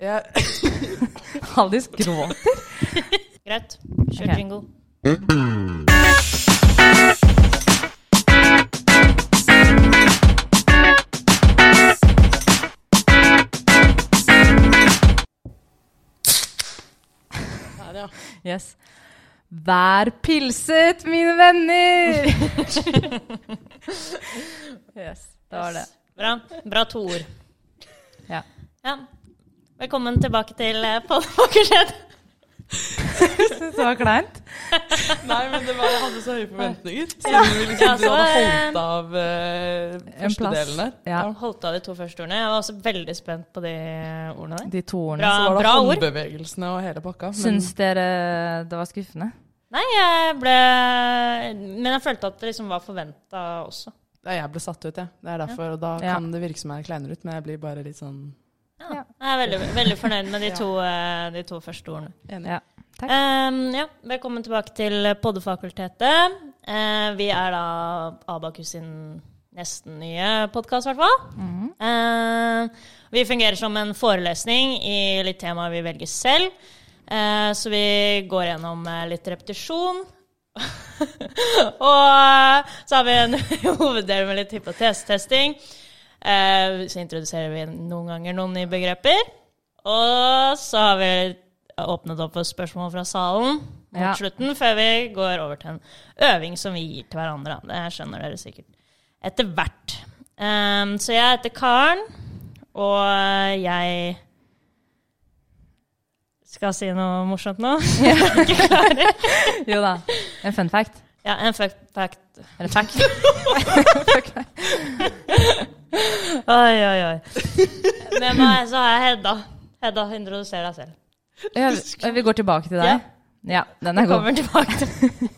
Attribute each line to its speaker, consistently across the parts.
Speaker 1: Jeg,
Speaker 2: Haldis gråter.
Speaker 3: Greit. Kjør
Speaker 2: Ok.
Speaker 3: jingle.
Speaker 1: der, ja.
Speaker 2: Yes. Vær pilset, mine venner! yes, det var det.
Speaker 3: Bra. Bra to ord.
Speaker 2: Ja.
Speaker 3: Ja. Velkommen tilbake til eh, Pål Åkershed.
Speaker 2: Syns det var kleint?
Speaker 1: Nei, men det var, jeg hadde så høye forventninger. Siden vi liksom,
Speaker 3: Ja,
Speaker 1: du
Speaker 3: så,
Speaker 1: hadde
Speaker 3: eh,
Speaker 1: holdt av eh,
Speaker 2: En
Speaker 1: første
Speaker 2: plass.
Speaker 1: delen der.
Speaker 2: Ja.
Speaker 3: Holdt av de to første ordene. Jeg var også veldig spent på de eh, ordene der.
Speaker 2: De to ordene.
Speaker 3: Bra,
Speaker 1: Så var det
Speaker 3: bra ord.
Speaker 1: håndbevegelsene og hele pakka. Men
Speaker 2: Syns dere det var skuffende?
Speaker 3: Nei, jeg ble Men jeg følte at det liksom var forventa også.
Speaker 1: Nei, jeg ble satt ut, jeg. Det er derfor. Og da
Speaker 2: Ja.
Speaker 1: kan det virke som jeg er kleinere ut, men jeg blir bare litt sånn
Speaker 3: Ja. Jeg er veldig, veldig fornøyd med de to, eh, de to første ordene.
Speaker 1: enig.
Speaker 2: Ja. Takk.
Speaker 3: Ehm, ja, velkommen tilbake til Poddefakultetet. Eh, vi er da Abakus sin nesten nye podkast, i hvert fall.
Speaker 2: Mhm.
Speaker 3: Eh, vi fungerer som en forelesning i litt tema vi velger selv. Eh, så vi går gjennom eh, litt repetisjon. og eh, så har vi en hoveddel med litt hypotesetesting. Eh, så introduserer vi noen ganger noen nye begreper. Og så har vi åpnet opp for spørsmål fra salen mot
Speaker 2: Ja.
Speaker 3: slutten, før vi går over til en øving som vi gir til hverandre. Det skjønner dere sikkert etter hvert. Eh, så jeg heter Karen, og eh, jeg skal jeg si noe morsomt nå?
Speaker 2: Jo da. En fun fact.
Speaker 3: Ja, en fun fact.
Speaker 2: Eller fact.
Speaker 3: Oi, oi, oi. Med meg så har jeg Hedda. Hedda, introduser deg selv.
Speaker 2: Ja, vi- vi går tilbake til
Speaker 3: Ja.
Speaker 2: deg. Ja, den er god.
Speaker 3: Kommer tilbake til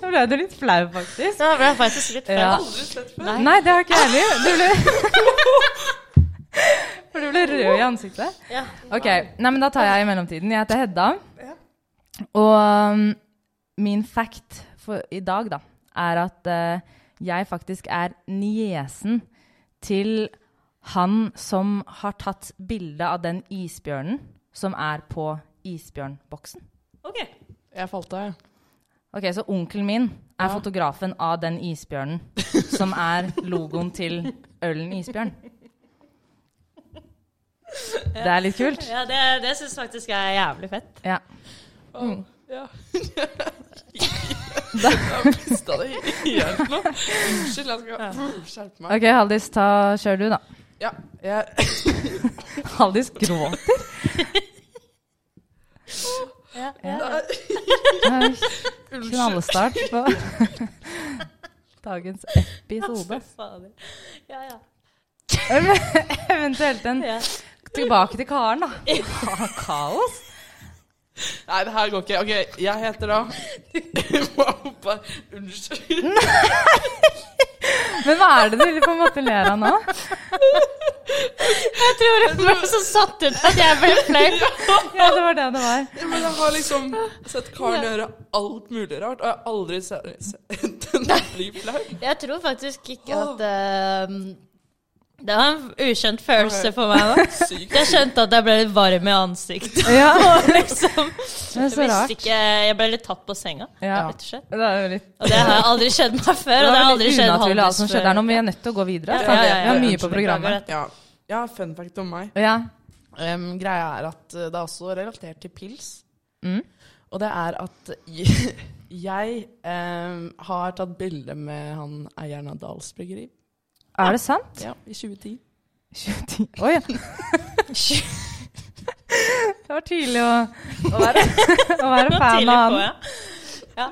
Speaker 2: Nå ble du litt flau, faktisk.
Speaker 3: Da ble jeg faktisk litt flau.
Speaker 2: Ja. Nei, det har ikke jeg heller. Du ble For du ble rød i ansiktet.
Speaker 3: Ja.
Speaker 2: Ok, nei, men da tar jeg i mellomtiden. Jeg heter Hedda. Og um, min fact for i dag, da, er at eh, jeg faktisk er niesen til han som har tatt bilde av den isbjørnen som er på isbjørnboksen.
Speaker 3: Ok.
Speaker 1: Jeg falt av, jeg.
Speaker 2: Ok, så onkelen min er fotografen av den isbjørnen som er logoen til ølen isbjørn. Det er litt kult.
Speaker 3: Ja, det, det syns faktisk jeg er jævlig fett.
Speaker 2: Ja. Mm.
Speaker 1: Ja. jeg mista det helt nå. Unnskyld, jeg skal skjerpe meg.
Speaker 2: Ok, Haldis, ta, kjør du, da.
Speaker 1: Ja, jeg,
Speaker 2: Haldis gråter.
Speaker 3: Ja,
Speaker 2: Knallstart på dagens episode.
Speaker 3: Fader. Ja, ja.
Speaker 2: Eventuelt en
Speaker 3: ja.
Speaker 2: tilbake til Karen, da. Ah, Kaos.
Speaker 1: nei, det her går ikke. Ok, jeg heter da Jeg må hoppe. Unnskyld.
Speaker 2: Men hva er det du på en måte ler av nå?
Speaker 3: Jeg tror det var så satt ut at jeg ble flau.
Speaker 2: Ja, det var det det var.
Speaker 1: Ja, Men jeg har liksom sett Karen gjøre alt mulig rart, og jeg har aldri se- sett henne bli flau.
Speaker 3: Jeg tror faktisk ikke at eh, Det var en ukjent følelse for meg nå.
Speaker 1: Sykt.
Speaker 3: Jeg skjønte at jeg ble litt varm i ansiktet.
Speaker 2: Ja,
Speaker 3: Liksom.
Speaker 2: det er
Speaker 3: Jeg
Speaker 2: så
Speaker 3: visste
Speaker 2: rart.
Speaker 3: ikke Jeg ble litt tatt på senga,
Speaker 2: Ja.
Speaker 3: rett og slett.
Speaker 2: Det er jo litt
Speaker 3: Og det har aldri skjedd meg før.
Speaker 2: det
Speaker 3: Og det har
Speaker 2: var
Speaker 3: aldri
Speaker 2: litt
Speaker 3: skjedd
Speaker 2: unaturlig alt som
Speaker 3: Haldis før.
Speaker 2: skjedde her nå, men vi er nødt til å gå videre.
Speaker 3: Ja,
Speaker 2: sant?
Speaker 3: ja, ja, ja.
Speaker 2: Vi har mye på programmet.
Speaker 3: Beklager
Speaker 1: Ja. ja, fun fact om meg.
Speaker 2: Ja.
Speaker 1: Em, greia er at eh, det er også relatert til pils.
Speaker 2: Mm.
Speaker 1: Og det er at jeg, em, har tatt bilde med han eieren av Dahls Bryggeri
Speaker 2: Er det sant?
Speaker 1: ja, i 2010.
Speaker 2: 2010. Oi, ja. Det var tydelig å, å, være, å være
Speaker 3: Det var
Speaker 2: fan
Speaker 3: tidlig
Speaker 2: av
Speaker 3: på,
Speaker 2: han.
Speaker 3: ja.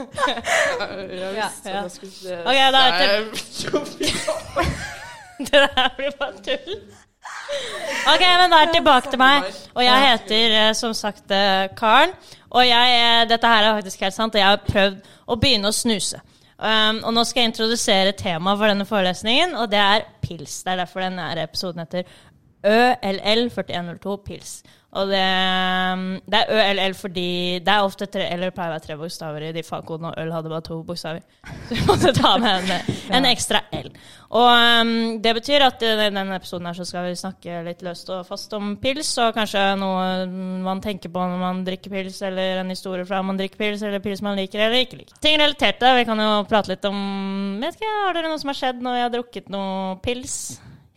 Speaker 1: Jeg
Speaker 3: Ja,
Speaker 1: visste
Speaker 3: ja.
Speaker 1: at jeg skulle
Speaker 3: Ok, da er det-
Speaker 1: det
Speaker 3: Det der blir bare tull. Ok, men da er det tilbake til meg. Og jeg heter eh, som sagt eh, Karen. Og jeg, eh, dette her er faktisk helt sant, og jeg har prøvd å begynne å snuse. Um, og nå skal jeg introdusere temaet for denne forelesningen, og det er pils. Det er derfor denne episoden heter ØLL4102 pils. Og det, um, det er ØLL fordi det er ofte tre, eller pleier å være tre bokstaver i de fagkodene, og øl hadde bare to bokstaver. Så vi måtte ta med en, en ekstra L. Og ehm, det betyr at i denne episoden her så skal vi snakke litt løst og fast om pils, og kanskje noe man tenker på når man drikker pils, eller en historie fra man drikker pils, eller pils man liker eller ikke liker. Ting relatert til det. Vi kan jo prate litt om vet ikke, Har dere noe som har skjedd når jeg har drukket noe pils?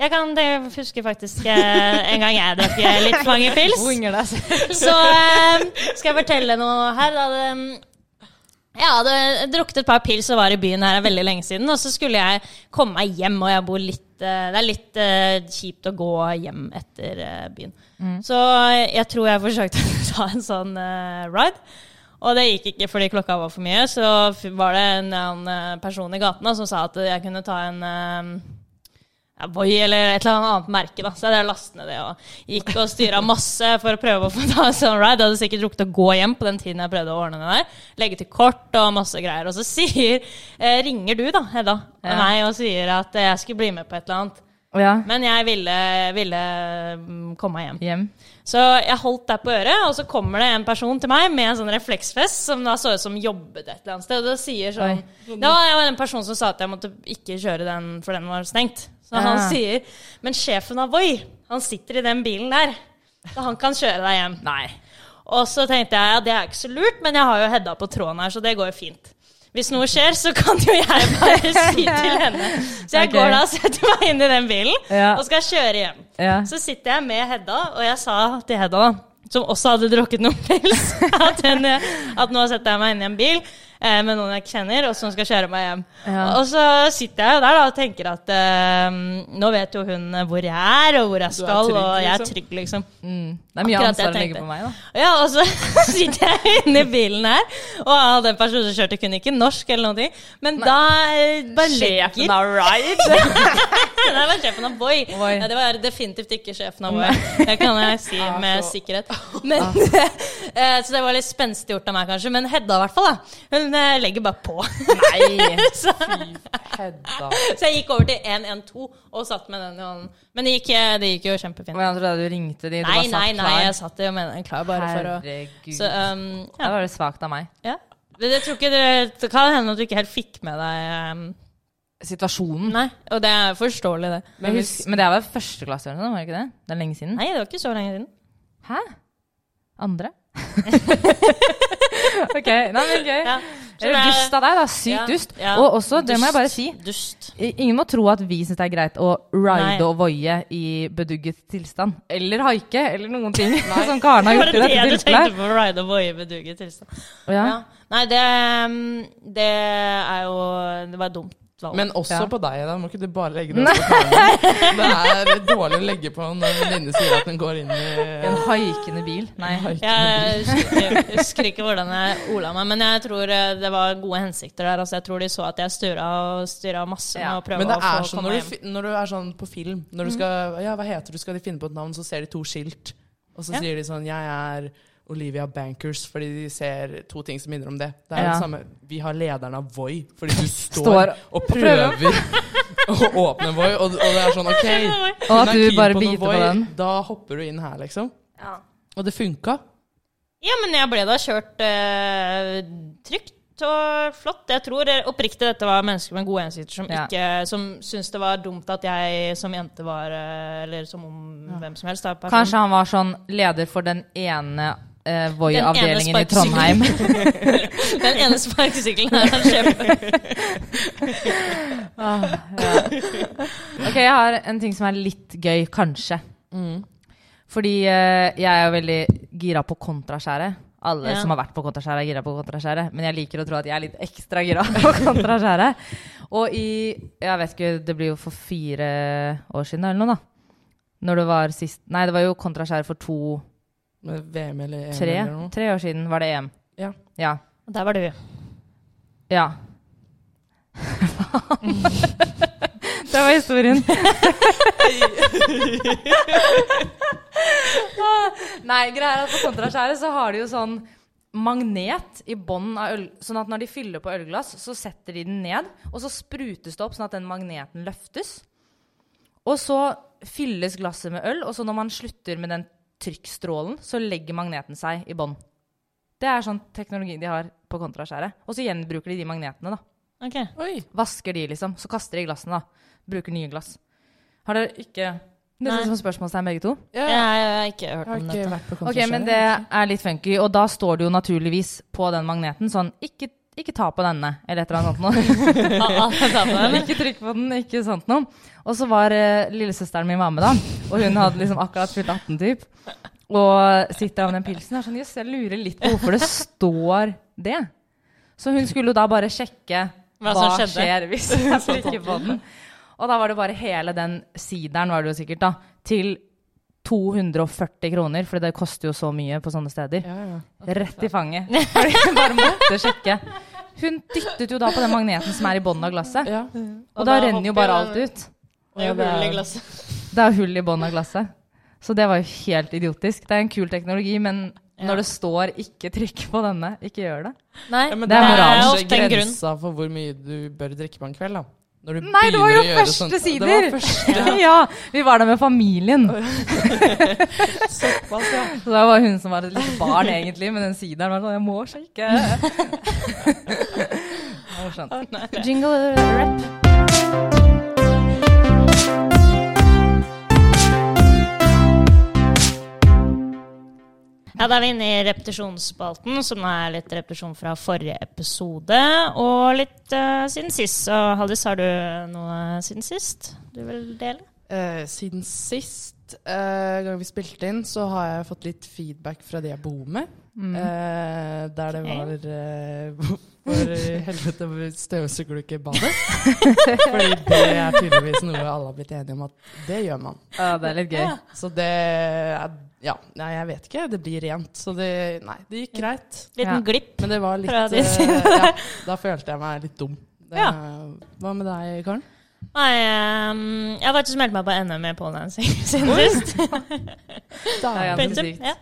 Speaker 3: Jeg kan det husker faktisk eh, en gang jeg drakk litt for mange pils.
Speaker 2: Winger deg selv.
Speaker 3: Så eh, skal jeg fortelle noe her. Da. Det, mm, Jeg hadde drukket et par pils og var i byen her veldig lenge siden. Og så skulle jeg komme meg hjem, og jeg bor litt, eh, det er litt eh, kjipt å gå hjem etter eh, byen. Så eh, jeg tror jeg forsøkte å ta en sånn eh, ride. Og det gikk ikke fordi klokka var for mye. Så f- var det en, annen, eh, person i gaten da, som sa at jeg kunne ta en eh, ja, Voi eller et eller annet merke, da. Så jeg lastet ned det og gikk og styra masse for å prøve å få ta en sånn ride. Jeg hadde sikkert rukket å gå hjem på den tiden jeg prøvde å ordne det der. Legge til kort og masse greier. Og så sier, eh, ringer du, da, Hedda,
Speaker 2: Ja.
Speaker 3: meg og sier at eh, jeg skulle bli med på et eller annet.
Speaker 2: Ja.
Speaker 3: Men jeg ville, ville mm, komme meg hjem.
Speaker 2: Hjem.
Speaker 3: Så jeg holdt der på øret, og så kommer det en person til meg med en sånn refleksvest som da så ut som jobbet et eller annet sted. Og det sier sånn
Speaker 2: Oi.
Speaker 3: Det var det var en person som sa at jeg måtte ikke kjøre den, for den var stengt. Så han
Speaker 2: Ah.
Speaker 3: sier Men sjefen av Voi, han sitter i den bilen der, så han kan kjøre deg hjem.
Speaker 2: Nei.
Speaker 3: Og så tenkte jeg ja, det er ikke så lurt, men jeg har jo Hedda på tråden her, så det går jo fint. Hvis noe skjer, så kan jo jeg bare si til henne. Så jeg
Speaker 2: Ok.
Speaker 3: går da og setter meg inn i den bilen
Speaker 2: Ja.
Speaker 3: og skal kjøre hjem.
Speaker 2: Ja.
Speaker 3: Så sitter jeg med Hedda, og jeg sa til Hedda, som også hadde drukket noen pils, at, hun, eh, at nå setter jeg meg inn i en bil eh, med noen jeg ikke kjenner, og som skal kjøre meg hjem.
Speaker 2: Ja.
Speaker 3: Og så sitter jeg jo der da, og tenker at eh, nå vet jo hun hvor jeg er, og hvor jeg skal,
Speaker 1: trygg,
Speaker 3: og jeg er
Speaker 1: liksom.
Speaker 3: trygg, liksom.
Speaker 2: Mm. Det er mye
Speaker 3: Akkurat det
Speaker 2: ansvar å
Speaker 3: jeg
Speaker 2: legge
Speaker 3: tenkte.
Speaker 2: på meg, da.
Speaker 3: Ja, og så sitter jeg inne i bilen her, og den personen som kjørte kunne ikke norsk eller noen ting, men da eh, bare legger
Speaker 2: av ride.
Speaker 3: Nei, det var sjefen av Voi.
Speaker 2: Voi.
Speaker 3: Ja, det var definitivt ikke sjefen av Voi. Det kan jeg si med sikkerhet.
Speaker 2: Ah.
Speaker 3: Men, eh, så det var litt spenstig gjort av meg, kanskje. Men Hedda, i hvert fall, da. hun eh, legger bare på.
Speaker 2: Nei.
Speaker 3: så,
Speaker 1: Hedda.
Speaker 3: så jeg gikk over til 112 og satt med den i hånden. Men det gikk, eh, det gikk jo kjempefint.
Speaker 2: Men jeg trodde du ringte de, du
Speaker 3: Nei,
Speaker 2: var satt
Speaker 3: nei, nei,
Speaker 2: klar.
Speaker 3: jeg satt jo med den klar bare for å
Speaker 2: Herregud.
Speaker 3: Så um,
Speaker 2: Det
Speaker 3: ja.
Speaker 2: var det svakt av meg.
Speaker 3: ja. Men jeg tror ikke det, det kan hende at du ikke helt fikk med deg um,
Speaker 2: Situasjonen.
Speaker 3: Nei, og det er forståelig, det.
Speaker 2: Men, jeg husker, men det var førsteklasse, eller noe, var det ikke det? Det er lenge siden.
Speaker 3: Nei, det var ikke så lenge siden.
Speaker 2: Hæ? Andre? ok, nei, men gøy.
Speaker 3: Ja.
Speaker 2: Det er jo dust av deg, da. Sykt
Speaker 3: Ja,
Speaker 2: dust.
Speaker 3: ja.
Speaker 2: Og også, det må jeg bare si,
Speaker 3: Dust.
Speaker 2: i- ingen må tro at vi syns det er greit å ride
Speaker 3: Nei.
Speaker 2: og voie i bedugget tilstand. Eller haike, eller noen ting som Karen har
Speaker 3: Var
Speaker 2: gjort i
Speaker 3: det det
Speaker 2: dette
Speaker 3: du
Speaker 2: tilfellet.
Speaker 3: tenkte på? Ride og voie med duget tilstand.
Speaker 2: her. Ja.
Speaker 3: Ja. Nei, det, um, det er jo Det var et dumt valg.
Speaker 1: Men også
Speaker 2: Ja.
Speaker 1: på deg, da. Må ikke du bare legge det på Karen? Det er dårlig å legge på når en venninne sier at hun går inn i
Speaker 2: En haikende bil. Nei.
Speaker 3: jeg husker, husker ikke hvordan jeg ola meg, men jeg tror eh, det var gode hensikter der. Altså, jeg tror de så at jeg styra og styra masse med
Speaker 2: Ja.
Speaker 3: å prøve
Speaker 1: Men det
Speaker 3: å
Speaker 1: er
Speaker 3: få
Speaker 1: sånn
Speaker 3: komme
Speaker 1: når du,
Speaker 3: hjem.
Speaker 1: fi- når du er sånn på film Når du
Speaker 2: Mm.
Speaker 1: skal Ja, hva heter du? Skal de finne på et navn, så ser de to skilt. Og så
Speaker 3: Ja.
Speaker 1: sier de sånn Jeg er Olivia Bankers, fordi de ser to ting som minner om det. Det er
Speaker 2: Ja.
Speaker 1: det samme Vi har lederen av Voi, fordi du står,
Speaker 2: Står
Speaker 1: og prøver å åpne Voi, og, og det er sånn
Speaker 2: Og
Speaker 1: OK. hun
Speaker 2: at
Speaker 1: er
Speaker 2: du
Speaker 1: keen
Speaker 2: bare
Speaker 1: noe
Speaker 2: biter på
Speaker 1: Voi,
Speaker 2: den.
Speaker 1: Da hopper du inn her, liksom.
Speaker 3: Ja.
Speaker 1: Og det funka.
Speaker 3: Ja, men jeg ble da kjørt eh, trygt og flott. Jeg tror eh, oppriktig dette var mennesker med gode hensikter som,
Speaker 2: Ja.
Speaker 3: ikke- som syntes det var dumt at jeg som jente var eh, Eller som om hvem som helst. Da, person.
Speaker 2: Kanskje han var sånn leder for den ene eh, Voi-avdelingen i
Speaker 3: sparkesykkelen.
Speaker 2: Trondheim.
Speaker 3: Den ene sparkesykkelen er en sjef.
Speaker 2: Ah, Ok, jeg har en ting som er litt gøy, kanskje.
Speaker 1: Mm.
Speaker 2: Fordi eh, jeg er jo veldig gira på kontraskjæret. Alle
Speaker 3: Ja.
Speaker 2: som har vært på kontraskjæret, er gira på kontraskjæret. Men jeg liker å tro at jeg er litt ekstra gira på kontraskjæret. Og i Jeg vet ikke, det blir jo for fire år siden eller noe, da. Når det var sist Nei, det var jo kontraskjæret for to,
Speaker 1: Med VM eller EM
Speaker 2: tre,
Speaker 1: E eller noe.
Speaker 2: tre år siden var det EM.
Speaker 1: Ja.
Speaker 2: Ja.
Speaker 3: Der var du.
Speaker 2: Ja. Faen. det var historien. Nei, greia er at på Kontraskjæret så har de jo sånn magnet i bånden av øl, sånn at når de fyller på ølglass, så setter de den ned, og så sprutes det opp sånn at den magneten løftes. Og så fylles glasset med øl, og så når man slutter med den trykkstrålen, så legger magneten seg i bånn. Det er sånn teknologi de har på kontraskjæret. Og så gjenbruker de de magnetene, da.
Speaker 3: Ok.
Speaker 1: Oi.
Speaker 2: Vasker de, liksom. Så kaster de glassene, da. Bruker nye glass. Har dere ikke liksom Dere
Speaker 3: Nei.
Speaker 2: som spørsmålstegn, begge to?
Speaker 1: Ja,
Speaker 3: Jeg har ikke hørt
Speaker 1: Jeg har
Speaker 3: om
Speaker 1: ikke
Speaker 3: dette.
Speaker 1: vært på
Speaker 2: Ok,
Speaker 1: konsert
Speaker 2: men
Speaker 1: selv.
Speaker 2: det er litt funky, og da står det jo naturligvis på den magneten sånn Ikke, ikke ta på denne, eller et eller annet sånt noe.
Speaker 3: Ah, ah, ta på den.
Speaker 2: ikke trykk på den, ikke sånt noe. Og så var eh, lillesøsteren min var med, da, og hun hadde liksom akkurat fylt 18, typ. Og sitter av den pilsen og er sånn Jøss, jeg lurer litt på hvorfor det står det. Så hun skulle jo da bare sjekke
Speaker 3: Hva
Speaker 2: hva,
Speaker 3: som skjedde.
Speaker 2: skjer hvis jeg trykker på den. Og da var det bare hele den sideren, var det jo sikkert, da, til 240 kroner, for det koster jo så mye på sånne steder.
Speaker 1: Ja, ja.
Speaker 2: Rett i fanget. Fordi hun bare måtte sjekke. Hun dyttet jo da på den magneten som er i bånn av glasset.
Speaker 1: Ja.
Speaker 2: Og da renner jo bare alt ut.
Speaker 3: Det er jo
Speaker 1: Ja, det er-
Speaker 3: hull i glasset.
Speaker 2: Det er hull i bånn av glasset. Så det var jo helt idiotisk. Det er en kul teknologi, men når det står 'ikke trykk på denne', ikke gjør det.
Speaker 3: Nei,
Speaker 1: Ja, men
Speaker 2: Det er
Speaker 1: da
Speaker 2: moralen.
Speaker 1: kanskje
Speaker 3: ofte en grunn.
Speaker 1: Grensa for hvor mye du bør drikke på en kveld, da. Når du
Speaker 2: Nei, det var jo
Speaker 1: begynner å gjøre
Speaker 2: første
Speaker 1: sånt-
Speaker 2: sider!
Speaker 1: Det sånn. var første
Speaker 2: Ja. vi var der med familien.
Speaker 1: såpass, ja.
Speaker 2: Så det var hun som var et lite barn, egentlig, men den sideren var sånn 'jeg må sjekke'. Det var morsomt. Jingle rap.
Speaker 3: Ja, Da er vi inne i repetisjonsspalten, som er litt repetisjon fra forrige episode. Og litt eh, siden sist. Så Haldis, har du noe siden sist du vil dele?
Speaker 1: Eh, siden sist eh, gang vi spilte inn, så har jeg fått litt feedback fra de jeg bor med.
Speaker 2: Mm.
Speaker 1: Eh, der det var eh, Hvorfor i helvete støvsuger du ikke badet? Fordi det er tydeligvis noe alle har blitt enige om at det gjør man.
Speaker 2: Ja, det er litt gøy.
Speaker 1: Så det er, Ja, nei, jeg vet ikke. Det blir rent. Så det Nei, det gikk greit.
Speaker 3: Liten
Speaker 2: Ja.
Speaker 3: glipp.
Speaker 1: Men det var litt
Speaker 3: Fra de
Speaker 1: eh,
Speaker 3: sine.
Speaker 1: ja, Da følte jeg meg litt dum. Det,
Speaker 3: Ja.
Speaker 1: Hva med deg, Karen?
Speaker 3: Nei, eh, jeg har faktisk meldt meg på NM i poledancing siden sist.
Speaker 2: ja, det er
Speaker 3: Punktum.
Speaker 2: sykt.
Speaker 3: Ja.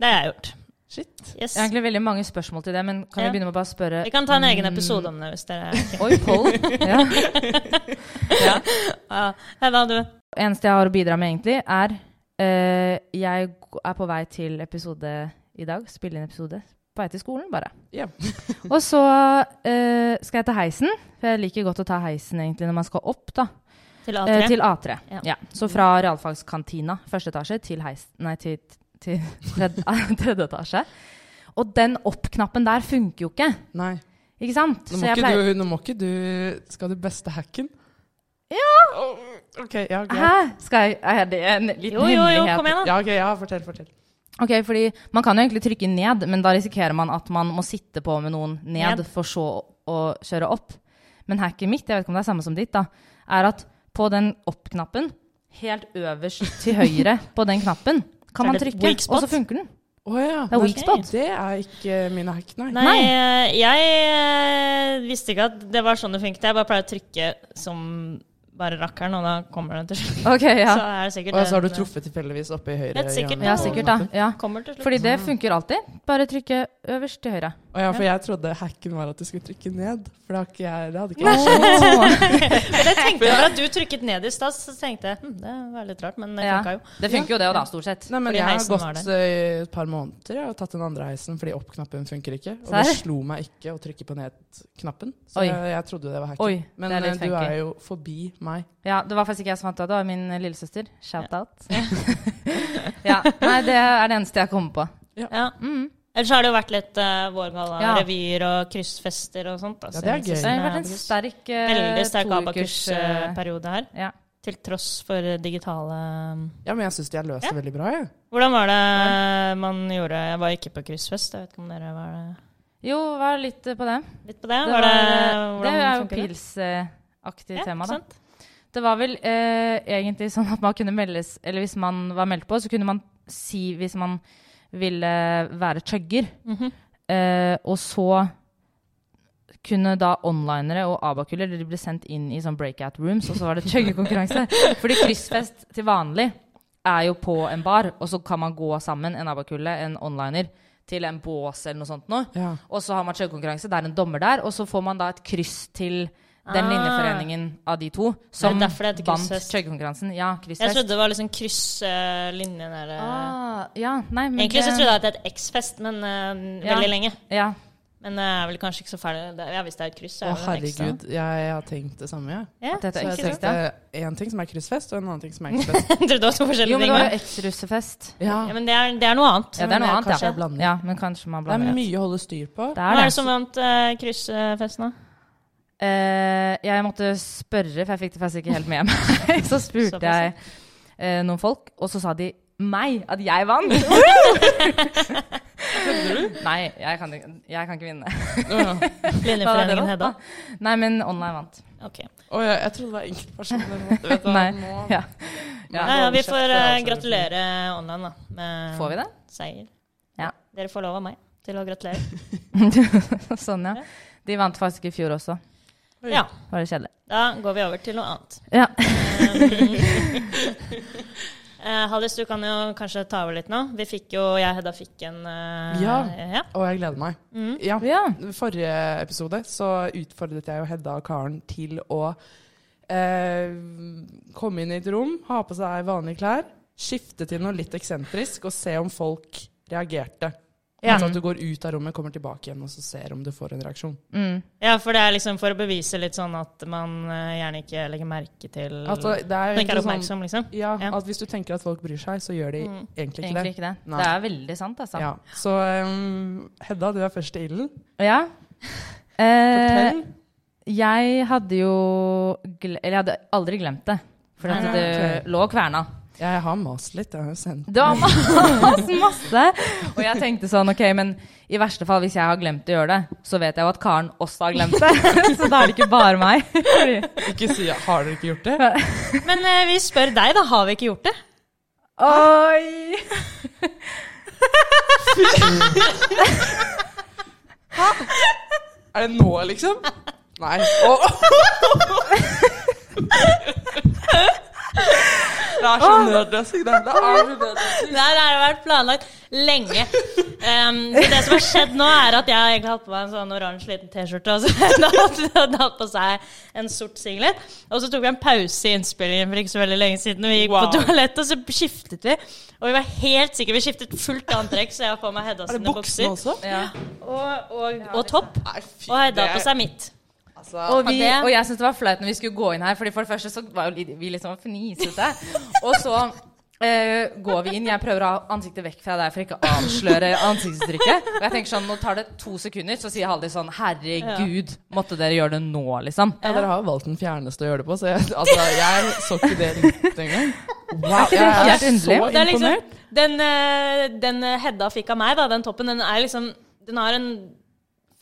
Speaker 3: Det har jeg gjort.
Speaker 1: Shit.
Speaker 3: Yes.
Speaker 2: Jeg har egentlig veldig mange spørsmål til det, men kan
Speaker 3: Ja.
Speaker 2: vi begynne med å bare spørre
Speaker 3: Vi kan ta en
Speaker 2: Mm.
Speaker 3: egen episode om det hvis dere
Speaker 2: Oi, poll. Ja.
Speaker 3: ja. Hei, Hva du?
Speaker 2: Eneste jeg har å bidra med, egentlig, er eh, Jeg g- er på vei til episode i dag. Spille inn episode. På vei til skolen, bare.
Speaker 1: Ja.
Speaker 2: Og så eh, skal jeg ta heisen. For jeg liker godt å ta heisen egentlig når man skal opp, da.
Speaker 3: Til
Speaker 2: Eh,
Speaker 3: A3?
Speaker 2: til A3.
Speaker 3: Ja.
Speaker 2: Ja. Så fra realfagskantina, første etasje, til heis... Nei, til, til tredje, tredje etasje. Og den opp-knappen der funker jo ikke.
Speaker 1: Nei.
Speaker 2: Ikke sant?
Speaker 1: Nå må, ikke du, nå må ikke du Skal du beste hacken? Ja! ok, ja,
Speaker 2: Hæ?
Speaker 1: greit.
Speaker 2: Skal jeg, er det en liten
Speaker 3: Jo, jo, jo,
Speaker 2: hemmelighet?
Speaker 3: kom igjen, da.
Speaker 1: Ja, ok, ja, fortell, fortell.
Speaker 2: Ok, fordi Man kan jo egentlig trykke ned, men da risikerer man at man må sitte på med noen ned,
Speaker 3: Ned.
Speaker 2: for så å kjøre opp. Men hacket mitt, jeg vet ikke om det er samme som ditt, da, er at på den opp-knappen, helt øverst til høyre på den knappen,
Speaker 3: Så er
Speaker 2: kan man
Speaker 3: det et
Speaker 2: trykke,
Speaker 3: weak spot?
Speaker 2: og så funker den.
Speaker 1: Å ja.
Speaker 2: Det er
Speaker 1: Nei,
Speaker 2: weak spot.
Speaker 1: Det er ikke mine hack, nei.
Speaker 3: Nei, eh, jeg eh, visste ikke at det var sånn det funket. Jeg bare pleier å trykke som bare rakkeren, og da kommer den til slutt.
Speaker 2: Ok,
Speaker 3: Så
Speaker 2: ja.
Speaker 3: er det sikkert
Speaker 1: Og så har du
Speaker 3: den, eh,
Speaker 1: truffet tilfeldigvis oppe i høyre
Speaker 3: Helt sikkert.
Speaker 2: Ja, sikkert, da. Ja.
Speaker 3: Kommer til slutt.
Speaker 2: Fordi det funker alltid. Bare trykke øverst til høyre.
Speaker 1: Å ja, for jeg trodde hacken var at du skulle trykke ned. For det, har ikke jeg, det hadde ikke jeg skjønt.
Speaker 2: Åh.
Speaker 3: Men jeg tenkte over at du trykket ned i stad, så tenkte jeg hm, det var litt rart, men det
Speaker 2: Ja.
Speaker 3: funka jo.
Speaker 2: Det funker jo det, og da, stort sett.
Speaker 1: Nei, men
Speaker 3: Fordi
Speaker 1: jeg har
Speaker 3: heisen var
Speaker 1: gått eh, i et par måneder jeg, og tatt den andre heisen fordi opp-knappen funker ikke. Og
Speaker 2: Serr?
Speaker 1: det slo meg ikke å trykke på ned-knappen, så
Speaker 2: Oi.
Speaker 1: jeg, jeg trodde det var hacken.
Speaker 2: Oi, det
Speaker 1: men
Speaker 2: er litt
Speaker 1: eh, du
Speaker 2: funky.
Speaker 1: er jo forbi meg.
Speaker 2: Ja, det var faktisk ikke jeg som fant det, det var min lillesøster. Shout-out. ja. Nei, det er det eneste jeg kommer på.
Speaker 3: Ja.
Speaker 2: Mm.
Speaker 3: Ellers har det jo vært litt uh, vårgalla,
Speaker 2: Ja.
Speaker 3: revyer og kryssfester og sånt. da,
Speaker 1: Ja,
Speaker 3: så
Speaker 1: det er
Speaker 3: jeg synes
Speaker 1: gøy.
Speaker 2: Det har vært en
Speaker 3: abacus.
Speaker 2: sterk eh,
Speaker 3: Veldig sterk
Speaker 2: toukers, eh,
Speaker 3: Abakus-periode her,
Speaker 2: ja.
Speaker 3: til tross for eh, digitale
Speaker 1: Ja, men jeg syns de har løst
Speaker 3: Ja.
Speaker 1: det veldig bra, jeg.
Speaker 3: Hvordan var det man gjorde Jeg var ikke på kryssfest, jeg vet ikke om dere var eh, det
Speaker 2: Jo, var litt eh, på det.
Speaker 3: litt på det?
Speaker 2: Det,
Speaker 3: var, det,
Speaker 2: var- det
Speaker 3: hvordan
Speaker 2: er jo
Speaker 3: funker det?
Speaker 2: pilsaktig
Speaker 3: Ja,
Speaker 2: tema, da.
Speaker 3: sant?
Speaker 2: Det var vel eh, egentlig sånn at man kunne meldes Eller hvis man var meldt på, så kunne man si hvis man ville være chugger.
Speaker 3: Mhm.
Speaker 2: eh, og så kunne da onlinere og abakuler de ble sendt inn i sånn breakout rooms, og så var det chuggekonkurranse. Fordi kryssfest til vanlig er jo på en bar, og så kan man gå sammen, en abakulle, en onliner, til en bås eller noe sånt noe.
Speaker 1: Ja.
Speaker 2: Og så har man kjørekonkurranse, det er en dommer der, og så får man da et kryss til Den linjeforeningen av de to som
Speaker 3: Ah. Det er derfor det heter
Speaker 2: vant
Speaker 3: krysshest.
Speaker 2: kjøkkenkonkurransen. Ja, krysshest.
Speaker 3: Jeg trodde det var liksom krysse linjen der. eh.
Speaker 2: ah, ja, nei, men
Speaker 3: Egentlig så
Speaker 2: det-
Speaker 3: trodde jeg at det het X-fest, men eh,
Speaker 2: Ja.
Speaker 3: veldig lenge.
Speaker 2: Ja.
Speaker 3: Men det er vel kanskje ikke så ferdig. Det- Ja, hvis det er et kryss, så
Speaker 1: Å,
Speaker 3: er det en X. da.
Speaker 1: herregud. Jeg har tenkt det samme, jeg.
Speaker 3: Ja,
Speaker 2: At dette
Speaker 1: Så
Speaker 2: er
Speaker 1: jeg
Speaker 2: Ikke sant,
Speaker 1: tenkte én ting som er kryssfest, og en annen ting som er kryssfest.
Speaker 3: Jeg trodde det var to
Speaker 2: Jo,
Speaker 3: forskjellige
Speaker 2: men
Speaker 3: ting.
Speaker 2: det var
Speaker 3: da.
Speaker 2: jo eksrussefest.
Speaker 1: Ja.
Speaker 3: Ja, men det er, det er noe annet.
Speaker 2: Ja, det er noe
Speaker 1: Men
Speaker 2: annet,
Speaker 1: kanskje
Speaker 2: ja.
Speaker 1: jeg blander.
Speaker 2: ja. Men kanskje man
Speaker 1: Det er
Speaker 2: blander.
Speaker 1: mye å holde styr på.
Speaker 2: Det
Speaker 3: Hva
Speaker 2: er
Speaker 3: er
Speaker 2: det.
Speaker 3: det som vant eh, kryssfesten, da?
Speaker 2: Eh, jeg måtte spørre, for jeg fikk det faktisk ikke helt med meg. Så spurte
Speaker 3: Såpass, ja.
Speaker 2: jeg eh, noen folk, og så sa de meg, at jeg vant. Nei, jeg kan, ikke- jeg kan ikke vinne.
Speaker 3: Linjeforeningen Hedda?
Speaker 2: Nei, men online vant.
Speaker 3: Ok.
Speaker 1: Å, ja, jeg trodde det var enkeltpersoner. Vet du hva,
Speaker 2: Nei,
Speaker 1: nå-
Speaker 2: ja. Ja.
Speaker 3: Nei, ja, vi
Speaker 1: Kjeft,
Speaker 3: får
Speaker 1: det er
Speaker 3: eh,
Speaker 1: altså-
Speaker 3: gratulere online, da. Med
Speaker 2: Får vi det?
Speaker 3: Seier.
Speaker 2: Ja.
Speaker 3: Dere får lov av meg til å gratulere.
Speaker 2: sånn, ja. De vant faktisk i fjor også.
Speaker 1: Oi.
Speaker 3: Ja.
Speaker 2: Var det kjedelig?
Speaker 3: Da går vi over til noe annet.
Speaker 2: Ja.
Speaker 3: Eh, Hallis, du kan jo kanskje ta over litt nå. Vi fikk jo, Jeg og Hedda fikk en eh,
Speaker 1: Ja.
Speaker 3: ja.
Speaker 1: Og jeg gleder meg. Ja.
Speaker 2: Mm. ja.
Speaker 1: Forrige episode så utfordret jeg jo Hedda og Karen til å eh, komme inn i et rom, ha på seg vanlige klær, skifte til noe litt eksentrisk og se om folk reagerte.
Speaker 3: Ja.
Speaker 1: Altså at du går ut av rommet, kommer tilbake igjen og så ser om du får en reaksjon.
Speaker 2: Mm.
Speaker 3: Ja, for det er liksom for å bevise litt sånn at man eh, gjerne ikke legger merke til
Speaker 1: Altså, det er jo
Speaker 3: Man ikke er
Speaker 1: egentlig sånn,
Speaker 3: oppmerksom, liksom.
Speaker 1: ja,
Speaker 3: Ja.
Speaker 1: at hvis du tenker at folk bryr seg, så gjør de egentlig ikke
Speaker 2: Egentlig
Speaker 1: det.
Speaker 2: ikke det.
Speaker 1: Nei.
Speaker 2: Det er veldig sant, altså.
Speaker 1: Ja. Så eh, Hedda, du er først i ilden.
Speaker 2: Ja. Eh,
Speaker 1: Fortell.
Speaker 2: jeg hadde jo gle Eller jeg hadde aldri glemt det. For at
Speaker 3: Nei,
Speaker 2: det
Speaker 1: ok.
Speaker 2: lå og kverna.
Speaker 1: Jeg har mast litt. Jeg har jo sendt
Speaker 2: Det var masse, masse. Og jeg tenkte sånn, ok, men i verste fall, hvis jeg har glemt å gjøre det, så vet jeg jo at Karen også har glemt det. Så da er det ikke bare meg. Fordi,
Speaker 1: Ikke si 'har dere ikke gjort det'?
Speaker 3: Men eh, vi spør deg, da. Har vi ikke gjort det?
Speaker 2: oi!
Speaker 1: Er det nå, liksom? Nei. Åh. Det er så nødløsning. Det det er så nødløsning.
Speaker 3: Det her har vært planlagt lenge. Ehm, så det som har skjedd nå, er at jeg har egentlig hatt på meg en sånn oransje liten T-skjorte, og så hadde hun hatt på seg en sort singlet. Og så tok vi en pause i innspillingen for ikke så veldig lenge siden. Vi gikk
Speaker 1: Wow.
Speaker 3: på toalettet, og så skiftet vi. Og vi var helt sikre. Vi skiftet fullt antrekk, så jeg har på meg Hedda
Speaker 1: Er det
Speaker 3: sine
Speaker 1: buksene
Speaker 3: bukser.
Speaker 1: også?
Speaker 2: Ja.
Speaker 3: Og, og, og topp.
Speaker 1: Nei, fy,
Speaker 3: Og Hedda
Speaker 1: det-
Speaker 3: på seg mitt.
Speaker 1: altså,
Speaker 2: Og, vi,
Speaker 3: Ja, det-
Speaker 2: og jeg syntes det var flaut når vi skulle gå inn her, Fordi for det første så var jo li- vi liksom fnisete. Og så eh, går vi inn. Jeg prøver å ha ansiktet vekk fra deg for ikke å avsløre ansiktsuttrykket. Og jeg tenker sånn, nå tar det to sekunder, så sier Haldis sånn Herregud, måtte dere gjøre det nå, liksom?
Speaker 1: ja, dere har jo valgt den fjerneste å gjøre det på, så jeg, altså, jeg så ikke det litt engang. Wow, jeg
Speaker 2: helt
Speaker 1: er så
Speaker 2: underlig?
Speaker 3: Det er liksom,
Speaker 1: imponert.
Speaker 3: den, eh, den eh, Hedda fikk av meg, da, den toppen, den er liksom Den har en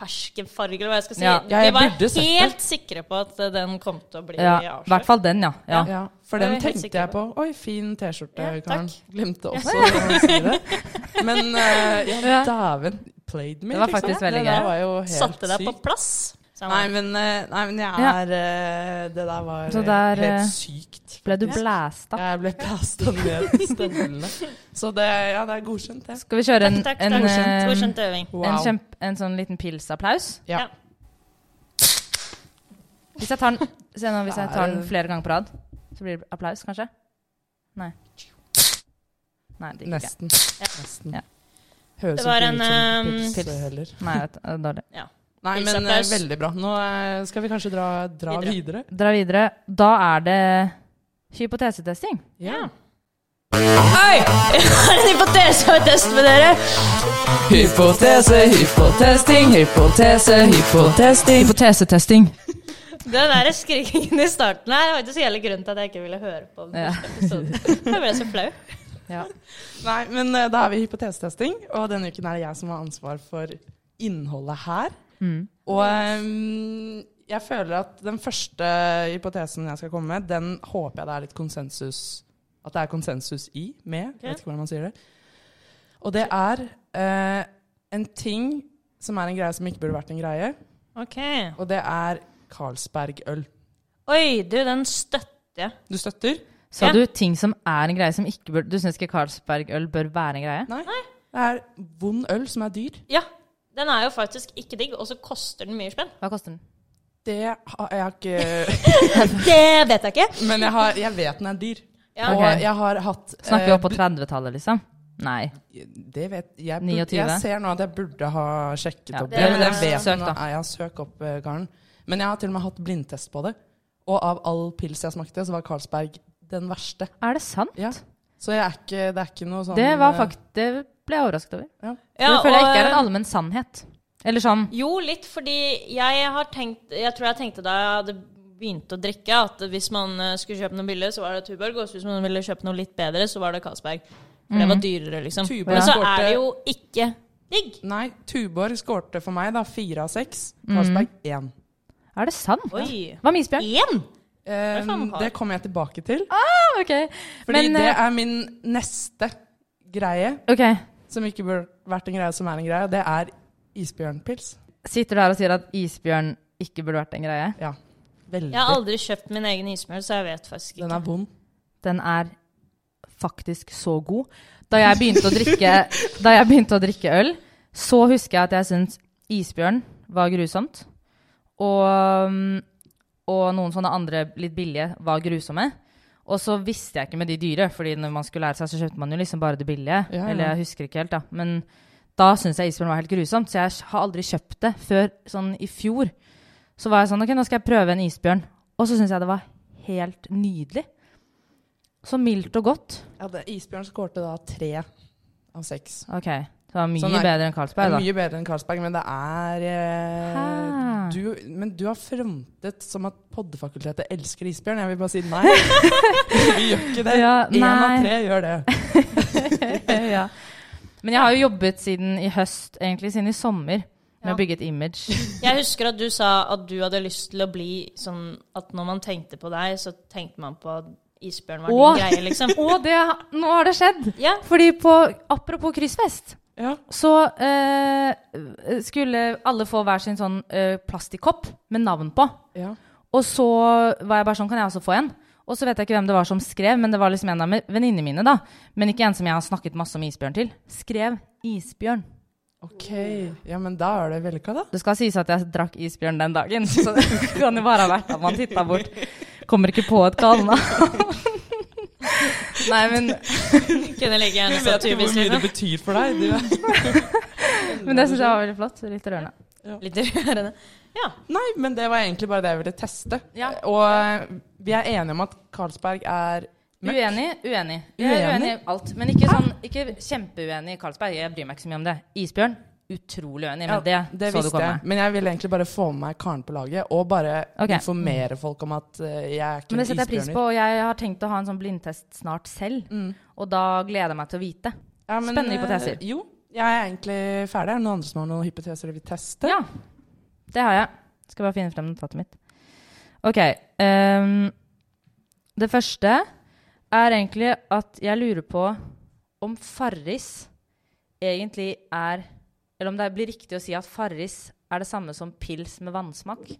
Speaker 3: ferskenfarge, eller hva jeg skal si.
Speaker 2: Ja,
Speaker 1: ja, jeg
Speaker 3: Vi var
Speaker 1: burde sett
Speaker 3: helt sikre på at eh, den kom til å bli
Speaker 2: Ja, I hvert
Speaker 3: avslørt.
Speaker 2: fall den, ja. ja.
Speaker 1: Ja, for
Speaker 3: Det er
Speaker 1: den
Speaker 3: jeg helt
Speaker 1: tenkte
Speaker 3: sikker
Speaker 1: jeg på.
Speaker 3: på.
Speaker 1: Oi, fin T-skjorte,
Speaker 3: Ja,
Speaker 1: Karen.
Speaker 3: takk.
Speaker 1: Glemte også å si det. Men eh, ja,
Speaker 2: Ja.
Speaker 1: dæven. Played me,
Speaker 2: Det var faktisk
Speaker 1: liksom.
Speaker 2: veldig
Speaker 1: det
Speaker 2: gøy.
Speaker 1: der var jo helt
Speaker 3: Satte deg på
Speaker 1: sykt.
Speaker 3: plass. sa
Speaker 1: Nei,
Speaker 3: han.
Speaker 1: men, eh, nei, men jeg
Speaker 2: Ja.
Speaker 1: er eh, Det der var
Speaker 2: Så der,
Speaker 1: eh,
Speaker 2: eh,
Speaker 1: helt sykt.
Speaker 2: Ble du blæsta?
Speaker 1: Jeg ble plasta ned i støvlene. Så det, ja, det er godkjent, det.
Speaker 2: Skal vi kjøre en,
Speaker 3: takk, takk.
Speaker 2: en,
Speaker 3: godkjent,
Speaker 2: eh,
Speaker 3: godkjent øving.
Speaker 2: en, kjemp, en sånn liten pilsapplaus?
Speaker 1: Ja.
Speaker 2: Hvis jeg tar den, se nå, hvis jeg tar den
Speaker 1: Ja.
Speaker 2: flere ganger på rad, så blir det applaus, kanskje? Nei. Nei, det gikk ikke.
Speaker 1: Nesten. Nesten.
Speaker 2: Ja.
Speaker 1: Høres
Speaker 3: Det var
Speaker 1: ikke
Speaker 3: en,
Speaker 1: ut som
Speaker 3: eh,
Speaker 1: pils,
Speaker 2: pils.
Speaker 1: heller.
Speaker 2: Nei, vet du, det er dårlig.
Speaker 3: Ja.
Speaker 1: ehm, Nei, men eh,
Speaker 3: Pilsapplaus.
Speaker 1: veldig bra. Nå eh, skal vi kanskje dra, dra videre.
Speaker 2: Dra videre. Da er det hypotesetesting.
Speaker 1: Ja.
Speaker 3: Hei! Jeg har en hypotese og test med dere.
Speaker 1: Hypotese, hypotesting, hypotese, hypotesting.
Speaker 2: Hypotesetesting.
Speaker 3: Den der skrikingen i starten her var faktisk hele grunnen til at jeg ikke ville høre på den
Speaker 2: Ja.
Speaker 3: første episoden. Jeg ble så flau.
Speaker 2: Ja.
Speaker 1: Nei, men eh, da er vi i hypotesetesting, og denne uken er det jeg som har ansvar for innholdet her.
Speaker 2: Mm.
Speaker 1: Og eh, jeg føler at den første hypotesen jeg skal komme med, den håper jeg det er litt konsensus At det er konsensus i, med. Jeg Vet ikke hvordan man sier det. Og det er eh, en ting som er en greie som ikke burde vært en greie,
Speaker 3: Ok.
Speaker 1: og det er Carlsberg-øl.
Speaker 3: Oi, du, den støtter jeg.
Speaker 1: Du støtter?
Speaker 2: Sa
Speaker 3: Ja.
Speaker 2: du ting som er en greie som ikke burde Du syns ikke Carlsberg-øl bør være en greie?
Speaker 1: Nei. Det er vond øl som er dyr.
Speaker 3: Ja, den er jo faktisk ikke digg, og så koster den mye spenn.
Speaker 2: Hva koster den?
Speaker 1: Det har jeg har ikke
Speaker 3: Det vet jeg ikke.
Speaker 1: Men jeg, har, jeg vet den er dyr.
Speaker 3: Ja.
Speaker 1: Og
Speaker 2: Ok.
Speaker 1: jeg har hatt
Speaker 2: Snakker vi
Speaker 1: eh,
Speaker 2: opp på 30-tallet, liksom? Nei.
Speaker 1: Det vet jeg. bur-
Speaker 2: 29.
Speaker 1: Jeg ser nå at jeg burde ha sjekket
Speaker 2: Ja,
Speaker 1: opp
Speaker 2: det-
Speaker 1: det. Men jeg
Speaker 2: det-
Speaker 1: vet
Speaker 2: søk,
Speaker 1: nå
Speaker 2: da.
Speaker 1: er jeg søk opp eh, Karen. Men jeg har til og med hatt blindtest på det. Og av all pils jeg smakte, så var Carlsberg den verste.
Speaker 2: Er det sant?
Speaker 1: Ja. Så jeg er ikke, det er ikke noe sånn
Speaker 2: Det, var
Speaker 1: eh,
Speaker 2: fakt det ble jeg overrasket over.
Speaker 1: ja.
Speaker 2: det føler jeg
Speaker 3: og, eh,
Speaker 2: ikke er en allmenn sannhet. Eller sånn
Speaker 3: Jo, litt, fordi jeg har tenkt Jeg tror jeg tenkte da jeg hadde begynt å drikke, at hvis man eh, skulle kjøpe noe billig, så var det Tuborg, og hvis man ville kjøpe noe litt bedre, så var det Carlsberg. For det var dyrere, liksom.
Speaker 1: Tuborg
Speaker 3: Men så
Speaker 1: går
Speaker 3: er
Speaker 1: til-
Speaker 3: det jo ikke digg.
Speaker 1: Nei, Tuborg skårte for meg da fire av seks.
Speaker 2: Mhm.
Speaker 1: Carlsberg én.
Speaker 2: Er det sant?
Speaker 3: Oi.
Speaker 2: Hva med isbjørn?
Speaker 3: Én!
Speaker 1: Eh,
Speaker 3: er faen meg hard.
Speaker 1: det kommer jeg tilbake til.
Speaker 2: Ah, ok.
Speaker 1: Fordi
Speaker 2: Men,
Speaker 1: det
Speaker 2: eh,
Speaker 1: er min neste greie,
Speaker 2: ok,
Speaker 1: som ikke burde vært en greie, som er en greie. og Det er isbjørnpils.
Speaker 2: Sitter du her og sier at isbjørn ikke burde vært en greie?
Speaker 1: Ja. Veldig.
Speaker 3: Jeg har aldri kjøpt min egen ismel, så jeg vet faktisk ikke.
Speaker 1: Den er vond.
Speaker 2: Den er faktisk så god. Da jeg begynte å drikke, da jeg begynte å drikke øl, så husker jeg at jeg syntes isbjørn var grusomt. Og, um, og noen sånne andre litt billige var grusomme. Og så visste jeg ikke med de dyre, fordi når man skulle lære seg, så kjøpte man jo liksom bare det billige.
Speaker 1: Ja, ja.
Speaker 2: Eller jeg husker ikke helt, da. Men da syntes jeg isbjørn var helt grusomt, så jeg har aldri kjøpt det før sånn i fjor. Så var jeg sånn, ok, nå skal jeg prøve en isbjørn. Og så syntes jeg det var helt nydelig. Så mildt og godt.
Speaker 1: Ja, det, Isbjørn skårte da tre av seks.
Speaker 2: Ok, så det var mye
Speaker 1: Sånn er-
Speaker 2: bedre enn
Speaker 1: Det
Speaker 2: Carlsberg
Speaker 1: er
Speaker 2: da.
Speaker 1: mye bedre enn Carlsberg, men det er eh,
Speaker 2: Hæ?
Speaker 1: du, Men du har frontet som at Poddefakultetet elsker isbjørn. Jeg vil bare si nei. Vi gjør ikke det.
Speaker 2: Ja,
Speaker 1: Én av
Speaker 2: nei.
Speaker 1: tre gjør det.
Speaker 2: ja. Men jeg har jo jobbet siden i høst, egentlig siden i sommer, med å bygge et image.
Speaker 3: Jeg husker at du sa at du hadde lyst til å bli sånn at når man tenkte på deg, så tenkte man på at isbjørn var
Speaker 2: Åh.
Speaker 3: din greie, liksom.
Speaker 2: og det, nå har det skjedd!
Speaker 3: Ja.
Speaker 2: Fordi på, apropos kryssfest,
Speaker 1: Ja.
Speaker 2: så eh, skulle alle få hver sin sånn eh, plastikkopp med navn på.
Speaker 1: Ja.
Speaker 2: Og så var jeg bare sånn, kan jeg også få en? Og så vet jeg ikke hvem det var som skrev, men det var liksom en av me- venninnene mine, da. Men ikke en som jeg har snakket masse om isbjørn til. Skrev isbjørn.
Speaker 1: OK. Ja, men da er det vellykka, da.
Speaker 2: Det skal sies at jeg drakk isbjørn den dagen, så det kan jo bare ha vært at man titta bort. Kommer ikke på et kallenavn. Nei, men,
Speaker 3: Kunne like gjerne sagt Tubis, liksom.
Speaker 1: betyr for deg. Du.
Speaker 2: men det syns jeg var veldig flott. Litt rørende.
Speaker 3: Litt rørende. Ja.
Speaker 1: Nei, men det var egentlig bare det jeg ville teste.
Speaker 2: Ja.
Speaker 1: Og eh, vi er enige om at Carlsberg er mørk.
Speaker 2: Uenig, uenig. Jeg er
Speaker 1: Uenig?
Speaker 2: uenig i alt. Men ikke, sånn, ikke kjempeuenig i Carlsberg. Jeg bryr meg ikke så mye om det. Isbjørn, utrolig uenig. Men det,
Speaker 1: det
Speaker 2: så du
Speaker 1: visste
Speaker 2: komme.
Speaker 1: jeg. Men jeg ville egentlig bare få med meg Karen på laget, og bare
Speaker 2: Ok.
Speaker 1: informere folk om at eh, jeg er ikke
Speaker 2: Men det
Speaker 1: en
Speaker 2: setter jeg pris på,
Speaker 1: isbjørner. Mm.
Speaker 2: og jeg har tenkt å ha en sånn blindtest snart selv. Og da gleder jeg meg til å vite.
Speaker 1: Ja, men,
Speaker 2: Spennende
Speaker 1: eh,
Speaker 2: hypoteser.
Speaker 1: Jo, jeg er egentlig ferdig. Er det noen andre som har noen hypoteser de vil teste?
Speaker 2: Ja, det har jeg. Skal bare finne frem notatet mitt. Ok. ehm, det første er egentlig at jeg lurer på om Farris egentlig er Eller om det blir riktig å si at Farris er det samme som pils med vannsmak.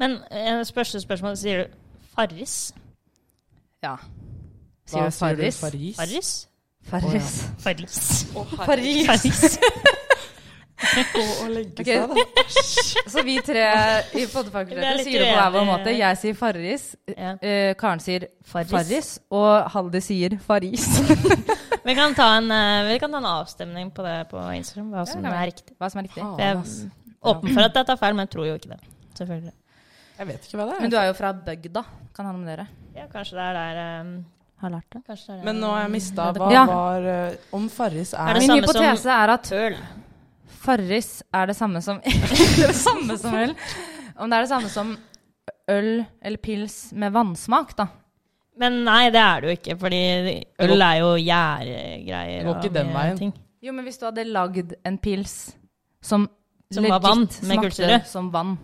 Speaker 3: Men eh, første spørsmål, sier du Farris?
Speaker 2: Ja.
Speaker 1: Hva
Speaker 2: Sier du Farris?
Speaker 1: Faris?
Speaker 3: Farris?
Speaker 2: Farris.
Speaker 3: Farris.
Speaker 2: Farris.
Speaker 3: Farris.
Speaker 1: Gå og legge
Speaker 2: Ok.
Speaker 1: seg, da.
Speaker 2: Så vi tre i
Speaker 3: Vi er
Speaker 2: Poddefakultetet
Speaker 3: litt eh,
Speaker 2: sier det på hver vår
Speaker 3: uenige.
Speaker 2: måte. Jeg sier Farris,
Speaker 3: Ja.
Speaker 2: eh, Karen sier
Speaker 3: Farris.
Speaker 2: Farris, og Haldi sier Faris.
Speaker 3: Vi kan, ta en, eh, vi kan ta en avstemning på det på Instagram, hva som
Speaker 2: kan vi.
Speaker 3: er riktig.
Speaker 2: Hva som er riktig.
Speaker 3: Jeg
Speaker 1: Faen,
Speaker 3: er
Speaker 1: ass.
Speaker 3: åpen for at jeg tar feil, men jeg tror jo ikke det. Selvfølgelig.
Speaker 1: Jeg vet ikke hva det er.
Speaker 2: Men du er jo fra bygda. Kan ha noe med dere?
Speaker 3: Ja, kanskje det er der eh,
Speaker 2: Har lært det.
Speaker 3: Kanskje det er der.
Speaker 1: Men nå har jeg mista hva
Speaker 2: Ja.
Speaker 1: var eh, Om Farris er,
Speaker 3: Er det
Speaker 2: Min
Speaker 3: samme som-
Speaker 2: hypotese er at
Speaker 3: Tøl.
Speaker 2: Farris er det samme som det samme som øl. Om det er det samme som øl eller pils med vannsmak, da.
Speaker 3: Men nei, det er det jo ikke, fordi øl er jo gjæregreier.
Speaker 1: Det går ikke
Speaker 3: og
Speaker 1: den
Speaker 3: mye
Speaker 1: veien.
Speaker 3: ting.
Speaker 2: Jo, men hvis du hadde lagd en pils som,
Speaker 3: Som var vann, med kullsyre.
Speaker 2: som vann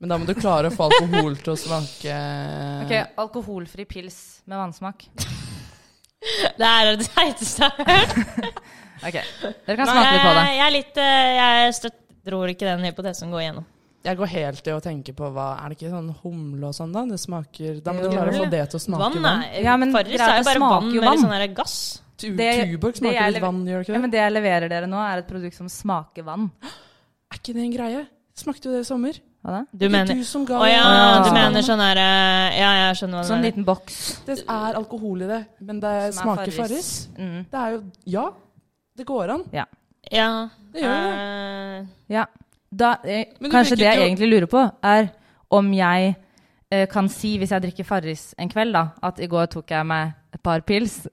Speaker 1: Men da må du klare å få alkohol til å smake
Speaker 2: Ok, alkoholfri pils med vannsmak.
Speaker 3: Det er det teiteste jeg har hørt.
Speaker 2: Ok, Dere kan smake litt på det.
Speaker 3: Jeg, jeg er litt eh, Jeg støtt, tror ikke den hypotesen går igjennom.
Speaker 1: Jeg går helt i å tenke på hva Er det ikke sånn humle og sånn, da? Det smaker Da må
Speaker 2: Jo.
Speaker 1: du klare å få det til å smake
Speaker 3: Vann
Speaker 1: vann.
Speaker 3: er
Speaker 2: Ja, men
Speaker 3: Farris
Speaker 2: greit,
Speaker 3: er jo
Speaker 2: det
Speaker 3: bare
Speaker 2: smaker jo
Speaker 3: vann med litt
Speaker 2: vann.
Speaker 3: sånn der gass.
Speaker 1: Tu
Speaker 2: Det-
Speaker 1: Tuborg
Speaker 2: det
Speaker 1: smaker
Speaker 2: jeg
Speaker 1: litt
Speaker 2: lever-
Speaker 1: vann, gjør det ikke
Speaker 2: Ja,
Speaker 1: det?
Speaker 2: men det jeg leverer dere nå, er et produkt som smaker vann.
Speaker 1: Er ikke det en greie? Smakte jo det i sommer.
Speaker 2: Hva da?
Speaker 3: Du mener
Speaker 1: du som ga
Speaker 3: Å ja,
Speaker 2: Ah.
Speaker 3: du mener sånn her eh, Ja, jeg skjønner hva du
Speaker 2: Sånn
Speaker 3: mener.
Speaker 2: liten boks.
Speaker 1: Det er alkohol i det, men det
Speaker 2: Som er
Speaker 1: smaker
Speaker 2: Farris.
Speaker 1: Farris.
Speaker 2: Mm.
Speaker 1: Det er jo Ja, det går an.
Speaker 2: Ja.
Speaker 3: Ja.
Speaker 1: Det gjør
Speaker 3: eh,
Speaker 2: Ja. Da, eh,
Speaker 1: Men du
Speaker 2: kanskje
Speaker 1: drikker
Speaker 2: det jeg
Speaker 1: ikke-
Speaker 2: egentlig lurer på, er om jeg eh, kan si, hvis jeg drikker Farris en kveld, da, at i går tok jeg meg et par pils.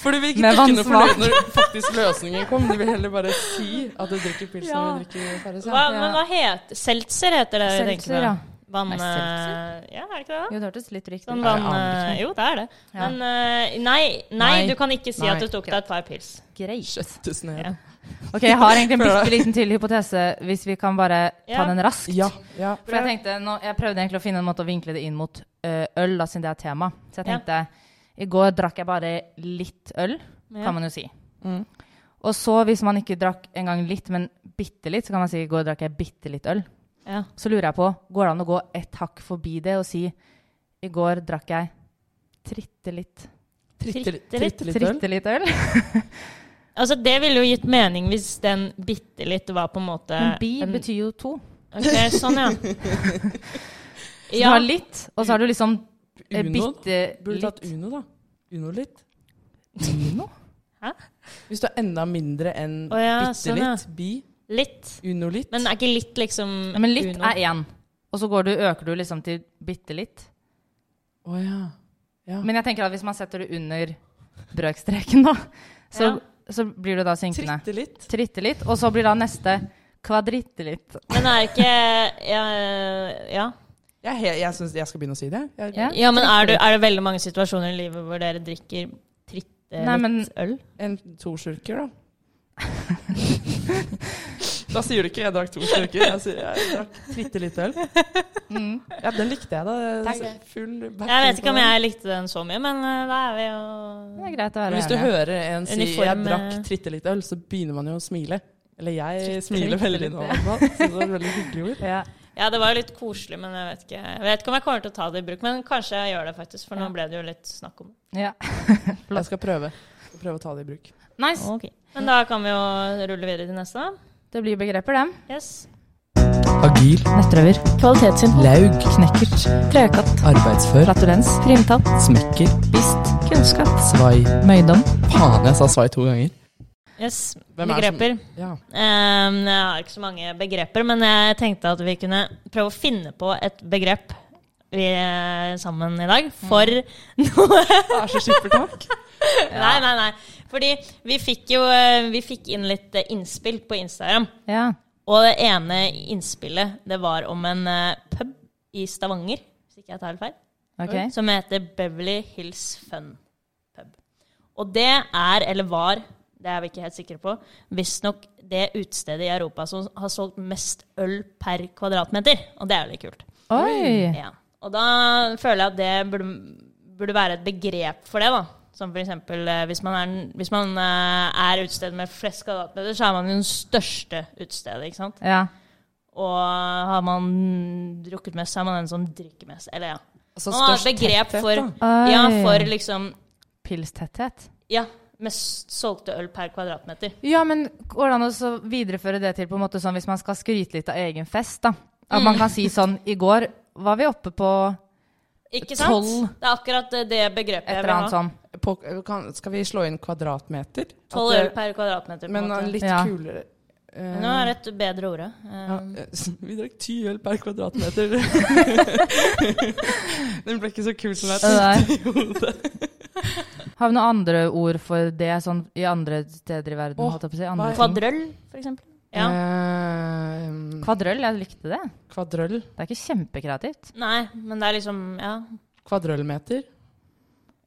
Speaker 1: For du vil ikke
Speaker 2: Med
Speaker 1: drikke noe
Speaker 2: vannsmak.
Speaker 1: fornøyd når faktisk løsningen kom. Du vil heller bare si at du drikker pils
Speaker 2: Ja.
Speaker 1: når du drikker Farris.
Speaker 3: hva,
Speaker 1: Ja.
Speaker 3: men hva heter Seltzer heter det vi tenker
Speaker 2: Seltzer,
Speaker 3: på.
Speaker 2: ja.
Speaker 3: Vann...
Speaker 2: Er det seltzer?
Speaker 3: eh, Ja, er det ikke det?
Speaker 2: Jo, det hørtes litt riktig
Speaker 3: Sånn
Speaker 2: ut.
Speaker 3: vann,
Speaker 2: Jeg aner ikke.
Speaker 3: jo, det er det.
Speaker 2: Ja.
Speaker 3: Men eh, nei, nei,
Speaker 2: Nei.
Speaker 3: du kan ikke si
Speaker 2: Nei,
Speaker 3: at du tok deg et par pils.
Speaker 2: Greit.
Speaker 1: Kjøttes ned.
Speaker 3: Ja.
Speaker 2: Ok, jeg har egentlig en
Speaker 1: Prøv
Speaker 2: bitte liten til hypotese, hvis vi kan bare ta
Speaker 3: Ja.
Speaker 2: den raskt.
Speaker 1: Ja. ja.
Speaker 2: For jeg tenkte, nå, jeg prøvde egentlig å finne en måte å vinkle det inn mot eh, øl, da, siden det er tema. Så jeg
Speaker 3: Ja.
Speaker 2: tenkte, i går drakk jeg bare litt øl,
Speaker 3: Ja.
Speaker 2: kan man jo si.
Speaker 1: Mm.
Speaker 2: Og så, hvis man ikke drakk engang litt, men bitte litt, så kan man si, i går drakk jeg bitte litt øl.
Speaker 3: Ja.
Speaker 2: Så lurer jeg på, går det an å gå et hakk forbi det og si, i går drakk jeg tritte litt,
Speaker 1: Tritte,
Speaker 3: Tritte litt.
Speaker 1: tritte litt øl.
Speaker 2: tritte litt øl?
Speaker 3: Altså, det ville jo gitt mening hvis den bitte litt var på en måte
Speaker 2: Men bi
Speaker 3: en-
Speaker 2: betyr jo to.
Speaker 3: Ok, sånn, ja.
Speaker 2: Så
Speaker 3: ja.
Speaker 2: du har litt, og så har du liksom eh,
Speaker 1: Uno?
Speaker 2: bitte
Speaker 1: Burde tatt
Speaker 2: litt.
Speaker 1: Uno, da. Uno litt.
Speaker 2: Uno?
Speaker 1: Hvis du er enda mindre enn
Speaker 3: Å ja,
Speaker 1: bitte
Speaker 3: sånn, ja.
Speaker 1: litt, bi,
Speaker 3: Litt.
Speaker 1: uno litt.
Speaker 3: Men er ikke litt liksom
Speaker 2: Ja, Men litt
Speaker 3: Uno?
Speaker 2: er én, og så går du, øker du liksom til bitte litt.
Speaker 1: Å ja. Ja.
Speaker 2: Men jeg tenker at hvis man setter det under brøkstreken, da, så,
Speaker 3: Ja.
Speaker 2: så blir det da synkende.
Speaker 1: Tritte litt.
Speaker 2: Tritte litt, og så blir da neste kvadritte litt.
Speaker 3: Men er ikke Ja. ja.
Speaker 1: Jeg, er he- jeg syns jeg skal begynne å si det. Jeg,
Speaker 2: Ja.
Speaker 3: ja men er, du, er det veldig mange situasjoner i livet hvor dere drikker tritte
Speaker 2: Nei, men
Speaker 3: litt øl?
Speaker 1: En to slurker, da. da sier du ikke 'jeg drakk to slurker', jeg sier 'jeg drakk tritte litt øl'. Mm. Ja, den likte jeg, da.
Speaker 2: Takk.
Speaker 1: Full backing
Speaker 3: Jeg vet
Speaker 1: på
Speaker 3: ikke om
Speaker 1: den.
Speaker 3: jeg likte den så mye, men eh, da er vi jo
Speaker 2: Det er greit å
Speaker 1: Men
Speaker 2: være
Speaker 1: Hvis du
Speaker 2: ærlig.
Speaker 1: hører en si
Speaker 3: Uniform,
Speaker 1: 'jeg drakk
Speaker 3: eh,
Speaker 1: tritte litt øl', så begynner man jo å smile. Eller jeg smiler
Speaker 2: litt
Speaker 1: veldig
Speaker 2: øl.
Speaker 1: nå, i hvert fall, så det er veldig hyggelig ord.
Speaker 2: Ja.
Speaker 3: Ja, det var jo litt koselig, men jeg vet ikke Jeg vet ikke om jeg kommer til å ta det i bruk, men kanskje jeg gjør det, faktisk. For nå ble det jo litt snakk om det.
Speaker 2: Ja.
Speaker 1: Jeg skal prøve. Jeg skal prøve å ta det i bruk.
Speaker 2: Nice.
Speaker 3: Men da kan vi jo rulle videre til neste.
Speaker 2: Det blir begreper, dem.
Speaker 3: Yes.
Speaker 1: Agil,
Speaker 2: Nettrøver.
Speaker 4: Kvalitetsinnhold,
Speaker 1: laug,
Speaker 2: Knekkert.
Speaker 4: trekant,
Speaker 1: arbeidsfør,
Speaker 2: Flatulens.
Speaker 4: primtall,
Speaker 1: smekker,
Speaker 2: Bist.
Speaker 4: kunnskap.
Speaker 1: svai.
Speaker 2: Møydom.
Speaker 1: Faen, jeg sa svai to ganger.
Speaker 3: yes.
Speaker 1: Hvem er det som-
Speaker 3: Begreper.
Speaker 1: Ja.
Speaker 3: Ehm, jeg har ikke så mange begreper, men jeg tenkte at vi kunne prøve å finne på et begrep vi er sammen i dag for noe
Speaker 1: Det er så skippertak.
Speaker 3: Nei, nei, nei. Fordi vi fikk jo eh, vi fikk inn litt eh, innspill på Instagram.
Speaker 2: Ja.
Speaker 3: Og det ene innspillet, det var om en eh, pub i Stavanger, hvis ikke jeg tar helt feil,
Speaker 2: OK.
Speaker 3: som heter Beverly Hills Fun Pub. Og det er, eller var, det er vi ikke helt sikre på, visstnok det utestedet i Europa som har solgt mest øl per kvadratmeter. Og det er jo litt kult.
Speaker 2: Oi.
Speaker 3: Ja. Og da føler jeg at det burde, burde være et begrep for det, da. Som for eksempel eh, hvis man er, hvis man eh, er utestedet med flest kvadratmeter, så er man jo den største utestedet, ikke sant?
Speaker 2: Ja.
Speaker 3: Og har man drukket mest, så er man den som drikker mest. Eller ja.
Speaker 1: Altså,
Speaker 3: man har
Speaker 1: størst
Speaker 3: et begrep
Speaker 1: tetthet,
Speaker 3: for,
Speaker 1: da.
Speaker 2: da.
Speaker 3: ja,
Speaker 2: Oi.
Speaker 3: for liksom
Speaker 2: Pilstetthet.
Speaker 3: Ja, mest solgte øl per kvadratmeter.
Speaker 2: Ja, men går det an å så videreføre det til på en måte sånn hvis man skal skryte litt av egen fest, da? At
Speaker 1: Mm.
Speaker 2: man kan si sånn I går var vi oppe på
Speaker 3: Ikke sant?
Speaker 2: Tolv.
Speaker 3: Det er akkurat eh, det begrepet
Speaker 2: et
Speaker 3: jeg
Speaker 2: eller
Speaker 3: vil
Speaker 2: annet
Speaker 3: ha.
Speaker 2: sånn.
Speaker 1: På, kan, skal vi slå inn kvadratmeter? At
Speaker 3: Tolv
Speaker 1: det-
Speaker 3: øl per kvadratmeter. På en
Speaker 2: uh,
Speaker 1: Men
Speaker 3: måte.
Speaker 1: litt
Speaker 2: Ja.
Speaker 1: kulere. Eh,
Speaker 3: Nå er det et bedre ordet. Eh,
Speaker 1: ja, eh, vi drakk ti øl per kvadratmeter. Den ble ikke så kul som jeg
Speaker 2: Det der.
Speaker 1: tenkte i hodet.
Speaker 2: Øh, Har vi noen andre ord for det sånn i andre steder i verden?
Speaker 1: Åh,
Speaker 2: holdt jeg på å si? andre
Speaker 1: hva-
Speaker 2: ting?
Speaker 3: Kvadrøll, for eksempel. Ja.
Speaker 1: Eh,
Speaker 2: Kvadrøll, jeg likte det.
Speaker 1: kvadrøll.
Speaker 2: Det er ikke kjempekreativt.
Speaker 3: Nei, men det er liksom ja,
Speaker 1: Kvadrøllmeter.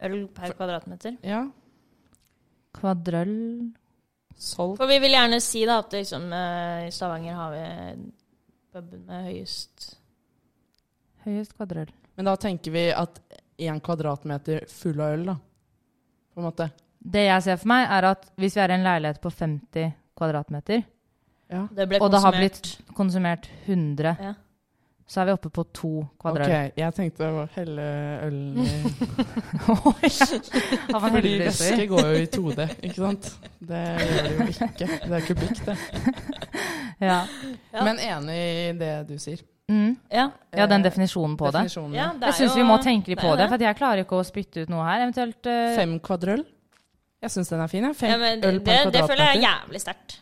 Speaker 3: øl per kvadratmeter.
Speaker 1: Ja.
Speaker 2: Kvadrøll
Speaker 1: Solgt.
Speaker 3: For vi vil gjerne si da at liksom, eh, i Stavanger har vi puben med høyest
Speaker 2: Høyest kvadrøll.
Speaker 1: Men da tenker vi at én kvadratmeter full av øl, da. På en måte.
Speaker 2: Det jeg ser for meg, er at hvis vi er i en leilighet på 50 kvadratmeter,
Speaker 1: Ja.
Speaker 3: Det ble
Speaker 2: og det har
Speaker 3: konsumert.
Speaker 2: blitt konsumert 100,
Speaker 3: Ja.
Speaker 2: så er vi oppe på to kvadrøll.
Speaker 1: Ok, jeg tenkte å helle ølen i
Speaker 2: Å, ja. Har man
Speaker 1: Fordi
Speaker 2: heldigvis i.
Speaker 1: væske går jo i 2D, ikke sant? Det gjør det jo ikke. Det er kubikk, det.
Speaker 2: Ja.
Speaker 3: Ja.
Speaker 1: Men enig i det du sier.
Speaker 2: Mm.
Speaker 3: Ja,
Speaker 2: ja, den
Speaker 1: Eh,
Speaker 2: definisjonen på det.
Speaker 1: Definisjonen.
Speaker 3: ja det er
Speaker 2: Jeg syns
Speaker 3: jo- eh,
Speaker 2: vi må tenke litt
Speaker 3: er
Speaker 2: på
Speaker 3: jo
Speaker 2: det, for at jeg klarer ikke å spytte ut noe her. Eventuelt eh,
Speaker 1: Fem kvadrøl. Jeg syns den er fin. jeg. Fem
Speaker 3: Ja, men
Speaker 1: øl
Speaker 3: det,
Speaker 1: per
Speaker 3: det føler jeg er
Speaker 1: kvadratmeter.
Speaker 3: jævlig sterkt.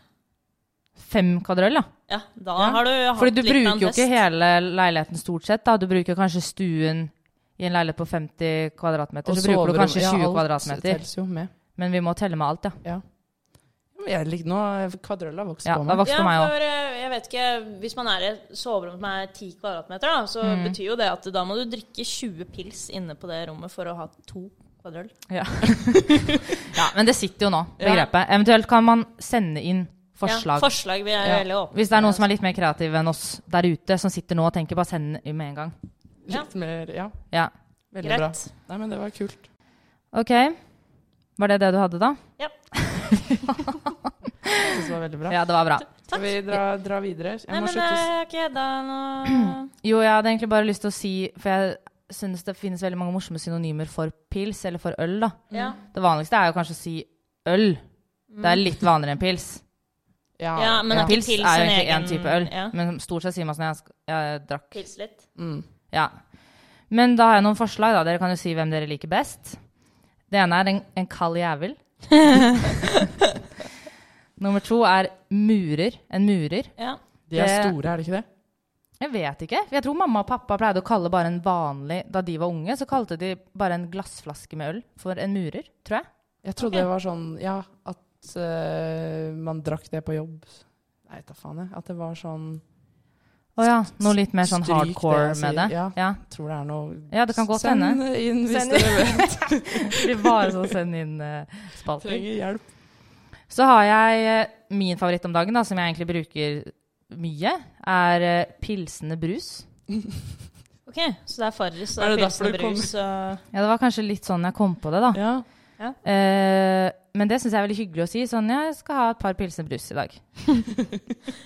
Speaker 2: fem kvadrøl, da.
Speaker 3: Ja, da har du hatt
Speaker 2: Fordi du
Speaker 3: litt av en
Speaker 2: bruker jo ikke
Speaker 3: fest.
Speaker 2: hele leiligheten stort sett, da. Du bruker kanskje stuen i en leilighet på 50 kvadratmeter, så bruker du
Speaker 1: soverom.
Speaker 2: kanskje
Speaker 1: Ja,
Speaker 2: 20
Speaker 1: alt
Speaker 2: kvadratmeter.
Speaker 1: telles jo med.
Speaker 2: Men vi må telle med alt, ja.
Speaker 1: Ja. Men Jeg liker nå eh, Kvadrøl har vokst
Speaker 2: Ja,
Speaker 1: på
Speaker 2: det
Speaker 1: meg.
Speaker 2: har vokst på meg
Speaker 3: ja,
Speaker 2: òg.
Speaker 3: for eh, jeg vet ikke, Hvis man er i et soverom som er 10 kvadratmeter, da, så
Speaker 2: Mm.
Speaker 3: betyr jo det at da må du drikke 20 pils inne på det rommet for å ha to kvadrøl.
Speaker 2: Ja. ja, men det sitter jo nå,
Speaker 3: Ja.
Speaker 2: begrepet. Eventuelt kan man sende inn
Speaker 3: Ja,
Speaker 2: forslag.
Speaker 3: forslag vil jeg
Speaker 1: Ja.
Speaker 3: veldig åpne.
Speaker 2: Hvis det er noen som er litt mer kreative enn oss der ute, som sitter nå og tenker bare send den med en gang.
Speaker 1: Litt mer, ja.
Speaker 2: Ja.
Speaker 1: Veldig bra.
Speaker 3: Greit.
Speaker 1: Nei, men det var kult.
Speaker 2: OK. Var det det du hadde, da?
Speaker 3: Ja.
Speaker 1: Jeg synes det var veldig bra.
Speaker 2: Ja, det var bra.
Speaker 1: Skal vi dra, dra videre? Jeg
Speaker 3: Nei,
Speaker 1: må
Speaker 3: men
Speaker 1: slutte å s-
Speaker 3: eh, ok, da nå Nei,
Speaker 2: Jo, jeg hadde egentlig bare lyst til å si, for jeg synes det finnes veldig mange morsomme synonymer for pils, eller for øl, da.
Speaker 3: Ja.
Speaker 2: Det vanligste er jo kanskje å si øl. Det er litt vanligere enn pils.
Speaker 3: eh, Ja, men
Speaker 2: Ja.
Speaker 3: at
Speaker 2: Pils er
Speaker 3: pils
Speaker 2: jo
Speaker 3: en
Speaker 2: egentlig
Speaker 3: egen-
Speaker 2: én type øl,
Speaker 3: ja.
Speaker 2: men stort sett sier man sånn jeg, sk- jeg drakk
Speaker 3: pils litt.
Speaker 1: Mm.
Speaker 2: Ja. Men da har jeg noen forslag, da. Dere kan jo si hvem dere liker best. Det ene er en, en kald jævel. Nummer to er murer. En murer.
Speaker 3: Ja.
Speaker 1: De er
Speaker 2: Det-
Speaker 1: store, er det ikke det?
Speaker 2: Jeg vet ikke. Jeg tror mamma og pappa pleide å kalle bare en vanlig Da de var unge, så kalte de bare en glassflaske med øl for en murer, tror jeg.
Speaker 1: Jeg trodde det var sånn Ja, at eh, man drakk det på jobb. Nei, ta faen, jeg. At det var sånn
Speaker 2: Å ja. Noe litt mer sånn
Speaker 1: Stryk det jeg
Speaker 2: hardcore
Speaker 1: sier,
Speaker 2: med det.
Speaker 1: ja.
Speaker 2: Ja.
Speaker 1: Tror det er noe
Speaker 2: Ja, det kan godt
Speaker 1: Send
Speaker 2: hende.
Speaker 1: inn hvis
Speaker 2: Send
Speaker 1: dere vet-
Speaker 2: Det blir bare sånn send inn eh, spalter.
Speaker 1: trenger hjelp.
Speaker 2: Så har jeg eh, min favoritt om dagen, da, som jeg egentlig bruker mye, er eh, pilsende brus.
Speaker 3: OK, så det er Farris
Speaker 1: Er
Speaker 3: og
Speaker 1: det derfor du
Speaker 3: pilsnerbrus og
Speaker 2: Ja, det var kanskje litt sånn jeg kom på det, da.
Speaker 1: Ja.
Speaker 2: Eh, men det syns jeg er veldig hyggelig å si. Sånn, ja, jeg skal ha et par pilsende brus i dag.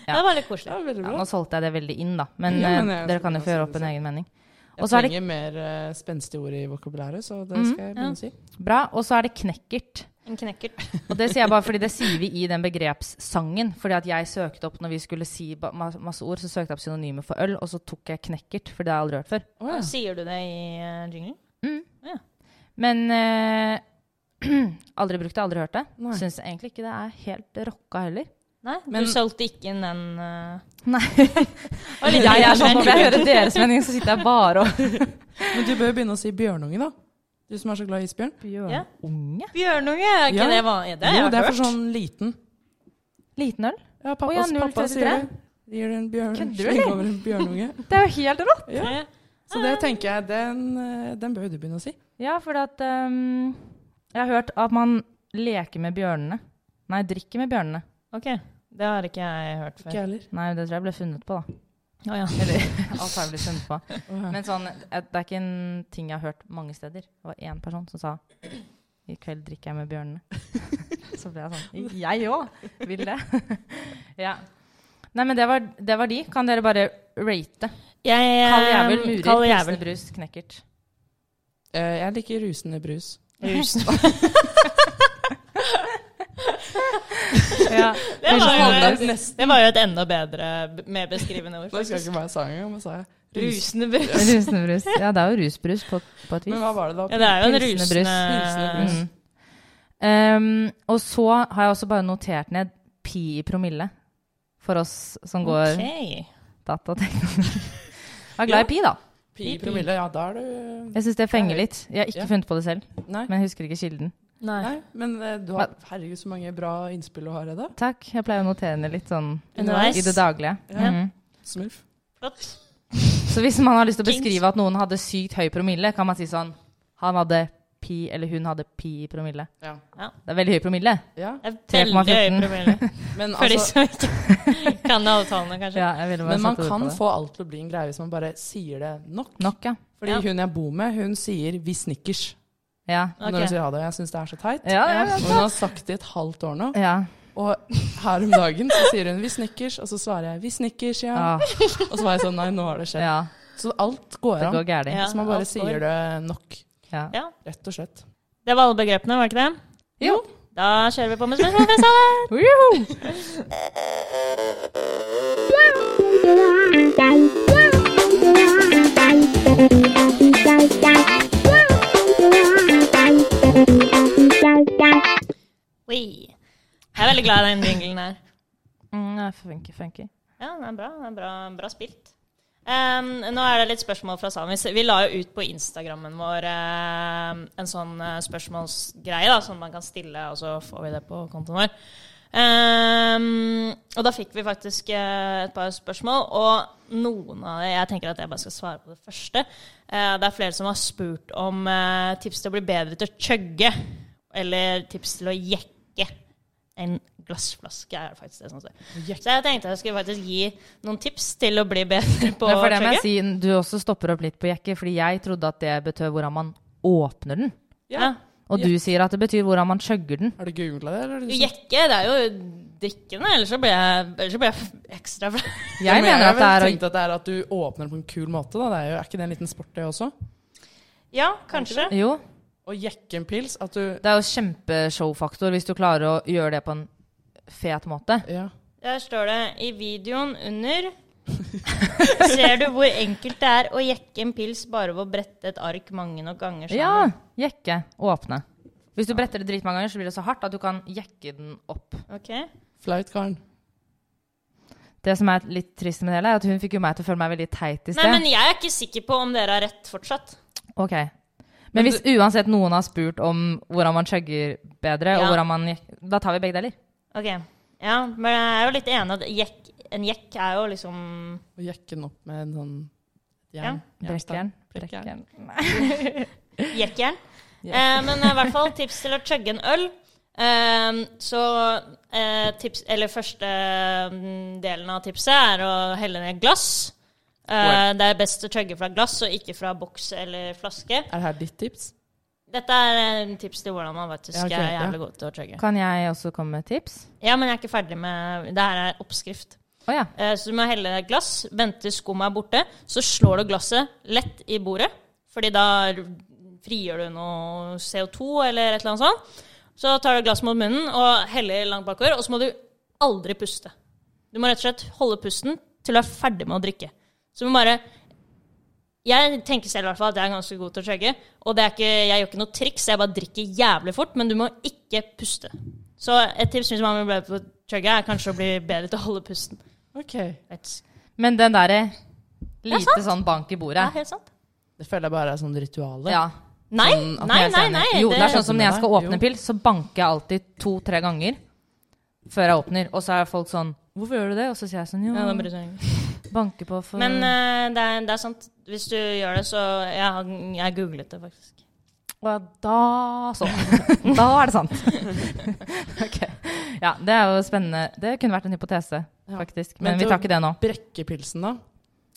Speaker 2: Ja.
Speaker 3: Det var litt koselig.
Speaker 1: ja, altså, veldig
Speaker 2: Ja,
Speaker 1: bra.
Speaker 2: nå solgte jeg det veldig inn, da. Men,
Speaker 1: Ja, men
Speaker 2: eh,
Speaker 1: jeg
Speaker 2: dere
Speaker 1: skulle
Speaker 2: kan jo få
Speaker 1: også
Speaker 2: gjøre opp
Speaker 1: si
Speaker 2: en
Speaker 1: det.
Speaker 2: egen mening. Og
Speaker 1: Jeg
Speaker 2: så er det-
Speaker 1: trenger mer eh, spenstige ord i vokabulæret, så det
Speaker 2: Mhm,
Speaker 1: skal jeg begynne å si.
Speaker 2: Bra. Og så er det knekkert.
Speaker 3: En knekkert.
Speaker 2: Og det sier jeg bare fordi det sier vi i den begrepssangen. Fordi at jeg søkte opp når vi skulle si ba- ma- masse ord, så søkte jeg opp synonymer for øl, og så tok jeg knekkert, for det har jeg aldri hørt før.
Speaker 1: Å ja.
Speaker 3: Sier du det i eh, jinglen?
Speaker 2: Men eh, aldri brukt det, aldri hørt det.
Speaker 1: Nei.
Speaker 2: Syns egentlig ikke det er helt rocka heller.
Speaker 3: Nei,
Speaker 1: Men-
Speaker 3: du solgte ikke inn den eh,
Speaker 2: Nei.
Speaker 3: var litt
Speaker 2: Jeg er sånn, Når
Speaker 3: irritert.
Speaker 2: jeg hører deres mening, så sitter jeg bare og
Speaker 1: Men du bør jo begynne å si bjørnunge, da. Du som er så glad i isbjørn.
Speaker 2: Bjørn.
Speaker 3: Ja.
Speaker 2: Unge?
Speaker 3: Bjørnunge, er ikke
Speaker 1: Ja.
Speaker 3: det vanlig? Det har
Speaker 1: jo,
Speaker 3: jeg
Speaker 1: det er
Speaker 3: hørt.
Speaker 1: for sånn liten.
Speaker 2: Liten øl?
Speaker 1: Ja, pappa,
Speaker 2: Å ja,
Speaker 1: pappa
Speaker 2: 0,33.
Speaker 1: sier det. De Gir deg en bjørn,
Speaker 2: Kødder du,
Speaker 1: sleng
Speaker 2: eller? Ah.
Speaker 1: over en bjørnunge.
Speaker 2: Det er jo helt rått!
Speaker 1: Ja.
Speaker 3: Ja.
Speaker 1: Så det tenker jeg, den, eh, den bør jo du begynne å si.
Speaker 2: Ja, for at ehm, Jeg har hørt at man leker med bjørnene. Nei, drikker med bjørnene.
Speaker 3: Ok, det har ikke jeg hørt
Speaker 1: Ikke
Speaker 3: før.
Speaker 1: jeg heller.
Speaker 2: Nei, det tror jeg ble funnet på, da.
Speaker 3: Å ja.
Speaker 2: Eller alt har jeg blitt funnet på.
Speaker 1: Å ja.
Speaker 2: Men sånn, jeg- det er ikke en ting jeg har hørt mange steder. Det var én person som sa i kveld drikker jeg med bjørnene. Så ble jeg sånn Jeg òg vil det. ja. Nei, men det var, det var de. Kan dere bare rate?
Speaker 3: Jeg eh,
Speaker 2: Kald jævel, murer,
Speaker 3: Kald
Speaker 2: pilsende
Speaker 3: jævel.
Speaker 2: brus, knekkert.
Speaker 1: Eh, Jeg liker rusende brus.
Speaker 3: Rusen.
Speaker 2: Ja.
Speaker 3: Det var, jo,
Speaker 1: nesten.
Speaker 3: det var jo et enda bedre, b- mer beskrivende ord.
Speaker 1: Da husker jeg
Speaker 3: faktisk.
Speaker 1: ikke hva jeg sa engang, men sa jeg rus.
Speaker 3: Rusende brus.
Speaker 2: Rusende brus. Ja, det er jo rusbrus på, på et vis.
Speaker 1: Men hva var det da?
Speaker 3: Ja, det er jo en
Speaker 2: Pilsende brus.
Speaker 3: rusende
Speaker 2: Mm.
Speaker 1: Pilsende
Speaker 2: Um, og så har jeg også bare notert ned pi i promille for oss som går
Speaker 3: Ok.
Speaker 2: datateknologi. Jeg er glad i pi, da.
Speaker 1: Pi i promille, ja, da er du
Speaker 2: Jeg syns det fenger litt. Jeg har ikke
Speaker 1: Ja.
Speaker 2: funnet på det selv,
Speaker 1: Nei.
Speaker 2: men jeg husker ikke kilden.
Speaker 3: Nei.
Speaker 1: Nei, men eh, du har herregud så mange bra innspill du har, Edda.
Speaker 2: Takk. Jeg pleier å notere ned litt sånn
Speaker 3: Underveis.
Speaker 2: i det daglige.
Speaker 1: Ja.
Speaker 2: Mhm.
Speaker 1: Smurf.
Speaker 3: Flott.
Speaker 2: Så hvis man har lyst til å
Speaker 3: Kings.
Speaker 2: beskrive at noen hadde sykt høy promille, kan man si sånn Han hadde pi, eller hun hadde pi i promille.
Speaker 1: Ja.
Speaker 2: Det er veldig høy promille.
Speaker 1: ja.
Speaker 3: Det er veldig høy
Speaker 2: 3,14.
Speaker 3: promille.
Speaker 1: Men,
Speaker 3: For de
Speaker 1: altså,
Speaker 3: som ikke kan avtalene, kanskje.
Speaker 2: Ja, jeg ville bare
Speaker 1: men man
Speaker 2: satt ord på
Speaker 1: kan
Speaker 2: det.
Speaker 1: få alt til å bli en greie hvis man bare sier det nok.
Speaker 2: Nok, ja.
Speaker 1: Fordi
Speaker 3: Ja.
Speaker 1: hun jeg bor med, hun sier 'vi snickers'
Speaker 2: Ja.
Speaker 1: når hun
Speaker 3: Ok.
Speaker 1: sier ha det. Og jeg syns det er så teit.
Speaker 2: Ja, ja, ja.
Speaker 1: Og hun har sagt det i et halvt år nå.
Speaker 2: ja.
Speaker 1: Og her om dagen så sier hun 'vi snickers', og så svarer jeg 'vi snickers', ja.
Speaker 2: Ah,
Speaker 1: Og så var jeg sånn nei, nå har det skjedd.
Speaker 2: ja.
Speaker 1: Så alt går
Speaker 2: Det
Speaker 1: an.
Speaker 2: går gærent.
Speaker 3: Ja.
Speaker 1: Hvis man bare
Speaker 3: alt går.
Speaker 1: sier det nok.
Speaker 2: Ja.
Speaker 3: Ja.
Speaker 1: Rett og slett.
Speaker 3: Det var alle begrepene, var det ikke det?
Speaker 2: Jo,
Speaker 3: Da kjører vi på med spørsmål fra salen.
Speaker 2: Woohoo!
Speaker 3: Oi. Jeg er veldig glad i den jinglen her.
Speaker 2: Mm, ja, funky, funky.
Speaker 3: Ja, den er bra. Den er bra, bra spilt. Ehm, nå er det litt spørsmål fra salen. Vi s- Vi la jo ut på Instagrammen vår ehm, en sånn eh, spørsmålsgreie da, som man kan stille, og så får vi det på kontoen vår. Ehm, og da fikk vi faktisk eh, et par spørsmål, og noen av dem Jeg tenker at jeg bare skal svare på det første. Eh, det er flere som har spurt om eh, tips til å bli bedre til å chugge, eller tips til å jekke en glassflaske, er det faktisk det som står. Så jeg tenkte jeg skulle faktisk gi noen tips til å bli bedre på
Speaker 2: Men for det må
Speaker 3: chugge.
Speaker 2: jeg si, du også stopper opp litt på jekke, fordi jeg trodde at det betød hvordan man åpner den.
Speaker 3: Ja.
Speaker 2: Og du sier at det betyr hvordan man chugger den.
Speaker 1: Har du googla det? Eller? er det du som-
Speaker 3: Jekke, det er jo drikkende, ellers så blir jeg, ellers så blir jeg ekstra flau.
Speaker 2: Jeg
Speaker 1: men
Speaker 2: mener
Speaker 1: har
Speaker 2: at det er
Speaker 1: vel
Speaker 2: å
Speaker 1: tenkt at det er at du åpner på en kul måte. Da. Det er, jo, er ikke det en liten sport, det også?
Speaker 3: Ja, kanskje.
Speaker 2: Jo,
Speaker 1: Å jekke en pils. At du
Speaker 2: det er jo kjempeshowfaktor hvis du klarer å gjøre det på en fet måte.
Speaker 1: Ja.
Speaker 3: Der står det i videoen under Ser du hvor enkelt det er å jekke en pils bare ved å brette et ark mange nok ganger
Speaker 2: Ja,
Speaker 3: sammen?
Speaker 2: jekke, åpne. Hvis du bretter det dritmange ganger, så blir det så hardt at du kan jekke den opp.
Speaker 3: Ok.
Speaker 1: Flaut, Karen.
Speaker 2: Det som er litt trist med det hele, er at hun fikk jo meg til å føle meg veldig teit i
Speaker 3: Nei,
Speaker 2: sted.
Speaker 3: men jeg er ikke sikker på om dere har rett fortsatt.
Speaker 2: Ok. Men hvis uansett noen har spurt om hvordan man chugger bedre, og
Speaker 3: Ja.
Speaker 2: hvordan man jekker, da tar vi begge deler.
Speaker 3: Ok. Ja, men jeg er jo litt enig at jekk, en jekk er jo liksom
Speaker 1: Å jekke den opp med en sånn
Speaker 3: Ja.
Speaker 1: jern.
Speaker 2: Brekkjern.
Speaker 1: Brekkjern.
Speaker 2: Brekkjern.
Speaker 3: jekkjern. Eh, men i hvert fall tips til å chugge en øl. Eh, så eh, tips, eller første mm, delen av tipset er å helle ned glass. Eh,
Speaker 1: Oi.
Speaker 3: det er best å chugge fra glass og ikke fra boks eller flaske.
Speaker 1: Er det her ditt tips?
Speaker 3: Dette er eh, tips til hvordan man faktisk
Speaker 1: Ja, ok,
Speaker 3: er
Speaker 1: ja.
Speaker 3: jævlig god til å chugge.
Speaker 2: Kan jeg også komme med tips?
Speaker 3: Ja, men jeg er ikke ferdig med Det her er oppskrift.
Speaker 2: Å ja.
Speaker 3: Eh, Så du må helle ned glass, vente til skummet er borte, så slår du glasset lett i bordet, fordi da frigjør du noe CO2 eller et eller annet sånt. Så tar du glasset mot munnen og heller langt bakover, og så må du aldri puste. Du må rett og slett holde pusten til du er ferdig med å drikke. Så du må bare Jeg tenker selv i hvert fall at jeg er ganske god til å chugge, og det er ikke, jeg gjør ikke noe triks, jeg bare drikker jævlig fort, men du må ikke puste. Så et tips hvis man vil bli bedre til å chugge, er kanskje å bli bedre til å holde pusten.
Speaker 1: Ok.
Speaker 3: Vet.
Speaker 2: Men den derre lite
Speaker 3: sant.
Speaker 2: sånn bank i
Speaker 3: Det
Speaker 2: bordet.
Speaker 3: er helt sant.
Speaker 1: Det føler jeg bare er sånn rituale.
Speaker 2: Ja.
Speaker 3: Nei,
Speaker 1: Sånn at
Speaker 3: nei,
Speaker 1: jeg er
Speaker 3: nei.
Speaker 1: enig.
Speaker 3: nei
Speaker 2: Jo, det er
Speaker 1: det-
Speaker 2: sånn som når jeg skal
Speaker 1: Jo.
Speaker 2: åpne en pils, så banker jeg alltid to-tre ganger før jeg åpner. Og så er folk sånn 'Hvorfor gjør du det?' Og så sier jeg sånn
Speaker 3: Ja, det er
Speaker 2: Jo,
Speaker 3: bare sånn.
Speaker 2: banker på for
Speaker 3: Men eh, det, er, det er sant. Hvis du gjør det, så Jeg, har- jeg googlet det faktisk.
Speaker 2: Og da sånn. da er det sant. ok. Ja, det er jo spennende. Det kunne vært en hypotese,
Speaker 1: Ja.
Speaker 2: faktisk.
Speaker 1: Men
Speaker 2: Men vi
Speaker 1: så-
Speaker 2: tar ikke det nå.
Speaker 1: Brekke pilsen, da.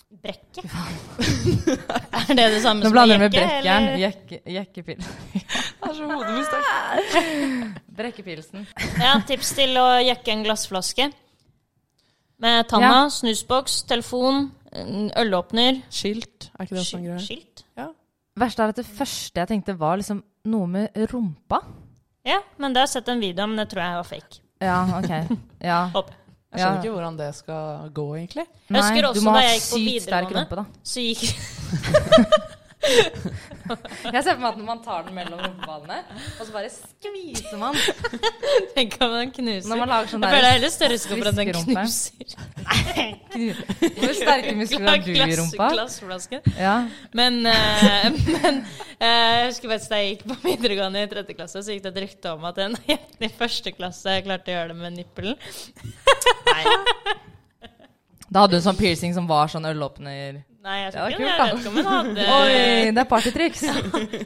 Speaker 3: Brekke? er det det samme
Speaker 2: Nå
Speaker 3: som
Speaker 2: blander du med
Speaker 3: jekke,
Speaker 2: brekkjern.
Speaker 3: eller?
Speaker 2: Jekke, jekkepil.
Speaker 1: Det er så hodet mitt stakk.
Speaker 2: Brekkepilsen.
Speaker 3: Ja, tips til å jekke en glassflaske. Med tanna,
Speaker 2: Ja.
Speaker 3: snusboks, telefon, en ølåpner
Speaker 1: Skilt, er ikke det også en
Speaker 3: sk-
Speaker 1: greie?
Speaker 3: Skilt?
Speaker 1: Ja.
Speaker 2: Verste er at det første jeg tenkte, var liksom noe med rumpa.
Speaker 3: Ja, men det har jeg sett en video om, det tror jeg var fake.
Speaker 2: Ja, OK. Ja.
Speaker 3: Håper. jeg.
Speaker 1: Jeg skjønner ikke hvordan det skal gå, egentlig.
Speaker 3: Jeg husker også
Speaker 2: du må
Speaker 3: da
Speaker 2: ha
Speaker 3: jeg gikk på
Speaker 2: sykt sterk
Speaker 3: videregående.
Speaker 2: rumpe, da.
Speaker 3: Så gikk
Speaker 2: Jeg ser for meg at når man tar den mellom rumpeballene, og så bare skviser man.
Speaker 3: Tenk om den knuser.
Speaker 2: Når man lager sånn
Speaker 3: jeg føler det
Speaker 2: der
Speaker 3: er heller større risiko for at den
Speaker 2: sviskerumpe.
Speaker 3: knuser.
Speaker 2: Hvor sterke muskler har du i
Speaker 3: Glass-
Speaker 2: rumpa?
Speaker 3: glassflasken.
Speaker 2: Ja.
Speaker 3: Men, eh, men eh, jeg husker faktisk da jeg gikk på videregående i tredje klasse, så gikk det et rykte om at en jente i første klasse klarte å gjøre det med nippelen.
Speaker 2: Da hadde hun sånn piercing som var sånn ølåpner.
Speaker 3: Nei, jeg
Speaker 2: Ja,
Speaker 3: tror
Speaker 2: det er
Speaker 3: ikke hun-
Speaker 2: kult,
Speaker 3: jeg
Speaker 2: da.
Speaker 3: vet ikke om hun hadde
Speaker 2: Oi, det er partytriks.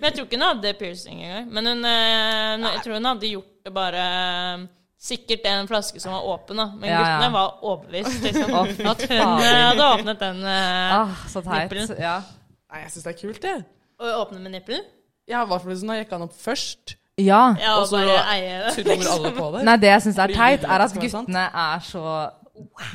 Speaker 3: Men jeg tror ikke hun hadde piercing engang. Men hun, eh, jeg tror hun hadde gjort det bare eh, Sikkert en flaske som var åpen, da. Men
Speaker 2: Ja, ja.
Speaker 3: guttene var overbevist liksom,
Speaker 2: Å, fy
Speaker 3: at hun
Speaker 2: faen.
Speaker 3: eh, hadde åpnet den eh,
Speaker 2: Ah, så teit.
Speaker 3: Nippelen.
Speaker 2: Ja.
Speaker 1: Nei, jeg syns det er kult, jeg.
Speaker 3: Å åpne med nippelen.
Speaker 1: Ja, i hvert fall hvis hun har jekka den opp først.
Speaker 2: ja.
Speaker 3: Ja, og
Speaker 1: Og så
Speaker 3: bare eie det.
Speaker 1: Tror alle på det.
Speaker 2: Nei, det jeg syns er
Speaker 1: Fordi
Speaker 2: teit,
Speaker 1: de
Speaker 2: er at
Speaker 1: skal være sant.
Speaker 2: guttene er så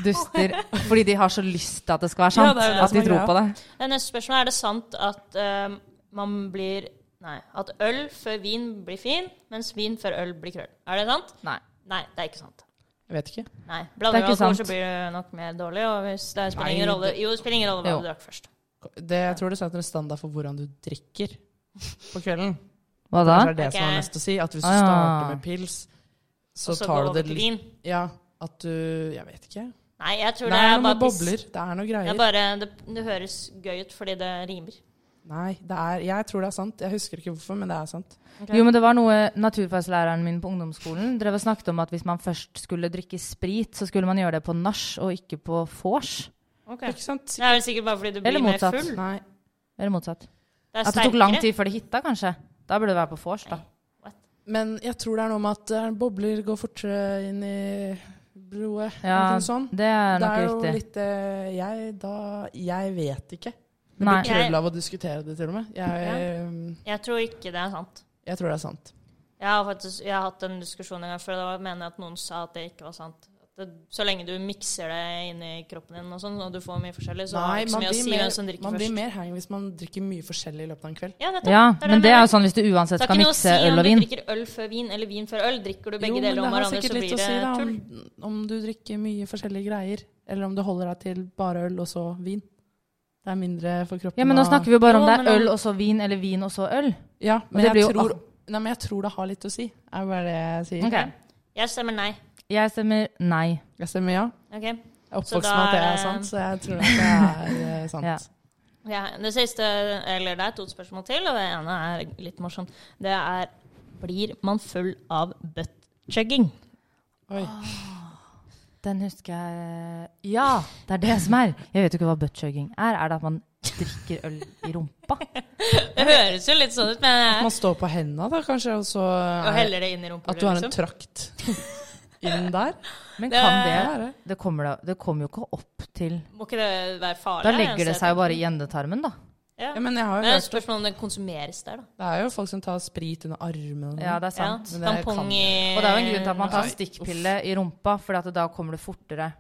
Speaker 2: duster fordi de har så lyst til at det skal være
Speaker 1: Ja,
Speaker 2: sant.
Speaker 1: det er jo det
Speaker 2: At
Speaker 1: som
Speaker 2: de
Speaker 1: er
Speaker 2: tror
Speaker 1: greia.
Speaker 2: på det.
Speaker 3: Det Neste spørsmål er det sant at eh, man blir Nei. At øl før vin blir fin, mens vin før øl blir krøll. Er det sant?
Speaker 2: Nei.
Speaker 3: Nei, det er ikke sant.
Speaker 1: Jeg vet ikke.
Speaker 3: Nei. Blander
Speaker 2: Det er
Speaker 3: du
Speaker 2: ikke
Speaker 3: alkohol,
Speaker 2: sant.
Speaker 3: så blir det nok mer dårlig. Og hvis det spiller
Speaker 1: Nei,
Speaker 3: ingen rolle
Speaker 1: det-
Speaker 3: Jo, det spiller ingen rolle hva
Speaker 2: Jo.
Speaker 3: du drakk først.
Speaker 1: Det, jeg tror det setter en standard for hvordan du drikker på kvelden.
Speaker 2: Hva da?
Speaker 1: Kanskje det er det
Speaker 3: Ok.
Speaker 1: som er mest å si. At hvis du
Speaker 2: Ah, ja.
Speaker 1: starter med pils, så,
Speaker 3: Og så går
Speaker 1: tar du
Speaker 3: over
Speaker 1: det
Speaker 3: til
Speaker 1: litt
Speaker 3: vin.
Speaker 1: Ja, at du Jeg vet ikke.
Speaker 3: Nei, jeg tror
Speaker 1: Det
Speaker 3: det
Speaker 1: er
Speaker 3: er
Speaker 1: noe
Speaker 3: bare
Speaker 1: med
Speaker 3: piss.
Speaker 1: bobler. Det er noe
Speaker 3: Det, er
Speaker 1: greier.
Speaker 3: bare, det, det høres gøy ut fordi det rimer.
Speaker 1: Nei, det er Jeg tror det er sant. Jeg husker ikke hvorfor, men det er sant.
Speaker 2: Jo, men det var noe naturfaglæreren min på ungdomsskolen drev og snakket om at hvis man først skulle drikke sprit, så skulle man gjøre det på nach og ikke på vors.
Speaker 1: Ikke sant?
Speaker 3: Det er vel sikkert bare fordi du blir
Speaker 2: Eller
Speaker 3: mer
Speaker 2: motsatt.
Speaker 3: full.
Speaker 1: Nei.
Speaker 2: Eller motsatt.
Speaker 3: Det er
Speaker 2: At det tok lang
Speaker 3: sterkere.
Speaker 2: tid før det hitta, kanskje. Da burde det være på vors, da.
Speaker 1: Men jeg tror det er noe med at eh, bobler går fortere inn i blodet.
Speaker 2: Ja,
Speaker 1: eller noe sånt.
Speaker 2: det er
Speaker 1: Det
Speaker 2: nok
Speaker 1: er jo
Speaker 2: riktig.
Speaker 1: litt eh, jeg, da, jeg vet ikke. Det
Speaker 2: Nei.
Speaker 1: blir krøll av å diskutere det, til og med. Jeg, eh,
Speaker 3: Jeg tror ikke det er sant.
Speaker 1: jeg tror det er sant.
Speaker 3: Jeg har faktisk jeg har hatt en diskusjon en gang før, da mener jeg at noen sa at det ikke var sant. At det, så lenge du mikser det inni kroppen din og sånn, og du får mye forskjellig, så har det ikke så
Speaker 1: man,
Speaker 3: mye å
Speaker 1: blir
Speaker 3: si hvem som
Speaker 1: mer,
Speaker 3: drikker
Speaker 1: man blir
Speaker 3: først.
Speaker 1: mer hang hvis man drikker mye forskjellig i løpet av en kveld.
Speaker 3: Ja, nettopp.
Speaker 2: Ja,
Speaker 3: er
Speaker 2: men det er
Speaker 3: jeg
Speaker 2: jo sånn hvis du
Speaker 3: mener.
Speaker 2: uansett
Speaker 3: Det er
Speaker 2: skal
Speaker 3: ikke noe å si
Speaker 2: mikse øl og
Speaker 3: om du
Speaker 2: vin.
Speaker 3: drikker øl før vin eller vin før øl. Drikker du
Speaker 1: Jo,
Speaker 3: begge
Speaker 1: men
Speaker 3: deler om
Speaker 1: det har
Speaker 3: hverandre, så
Speaker 1: sikkert litt
Speaker 3: blir
Speaker 1: å
Speaker 3: det
Speaker 1: si da,
Speaker 3: tull.
Speaker 1: om, om du drikker mye forskjellige greier, eller om du holder deg til bare øl og så vin. Det er mindre for kroppen.
Speaker 2: Ja, men nå
Speaker 1: å-
Speaker 2: snakker vi jo bare om
Speaker 3: Jo,
Speaker 2: det er
Speaker 3: men-
Speaker 2: øl og så vin, eller vin og så øl.
Speaker 1: ja, men
Speaker 2: det blir
Speaker 1: jeg
Speaker 2: jo
Speaker 1: tror, nei, men jeg tror det har litt å si, er bare det jeg sier.
Speaker 2: Ok.
Speaker 3: Jeg stemmer nei.
Speaker 2: Jeg stemmer nei.
Speaker 1: Jeg stemmer ja.
Speaker 3: Ok.
Speaker 1: Jeg er
Speaker 3: Så
Speaker 1: oppvokst
Speaker 3: da
Speaker 1: med at det
Speaker 3: er eh,
Speaker 1: er
Speaker 3: det-
Speaker 1: sant, så jeg tror at det er eh, sant.
Speaker 2: Ja.
Speaker 3: Ja, det siste, eller det er to spørsmål til, og det ene er litt morsomt. Det er blir man full av butt-chugging?
Speaker 1: Oi.
Speaker 2: Den husker jeg Ja, det er det som er. Jeg vet jo ikke hva buttchugging er. Er det at man drikker øl i rumpa?
Speaker 3: Det høres jo litt sånn ut, men
Speaker 1: Man står på henda da, kanskje, og så
Speaker 3: og
Speaker 1: er,
Speaker 3: heller det inn i rumpa.
Speaker 1: At du har en
Speaker 3: liksom.
Speaker 1: trakt inn der.
Speaker 2: Men
Speaker 3: Det-
Speaker 2: kan
Speaker 1: Det
Speaker 2: det
Speaker 1: er det.
Speaker 2: Det kommer, da, det kommer jo ikke opp til
Speaker 3: Må ikke det være farlig?
Speaker 2: Da
Speaker 3: er
Speaker 2: legger det Mm.
Speaker 3: eneste-
Speaker 2: seg jo bare i endetarmen, da.
Speaker 3: Ja.
Speaker 1: Ja, men jeg
Speaker 3: Men
Speaker 1: har jo
Speaker 3: det er et
Speaker 1: hørt
Speaker 3: spørsmål om det konsumeres der, da.
Speaker 1: Det er jo folk som tar sprit under armene. og
Speaker 2: Ja,
Speaker 1: sånn.
Speaker 2: det er sant.
Speaker 1: Men
Speaker 3: Ja.
Speaker 1: det kan-
Speaker 3: Tampong i
Speaker 2: Og det er jo en grunn til at man tar
Speaker 1: Nei,
Speaker 2: stikkpille i rumpa, for at da kommer det fortere.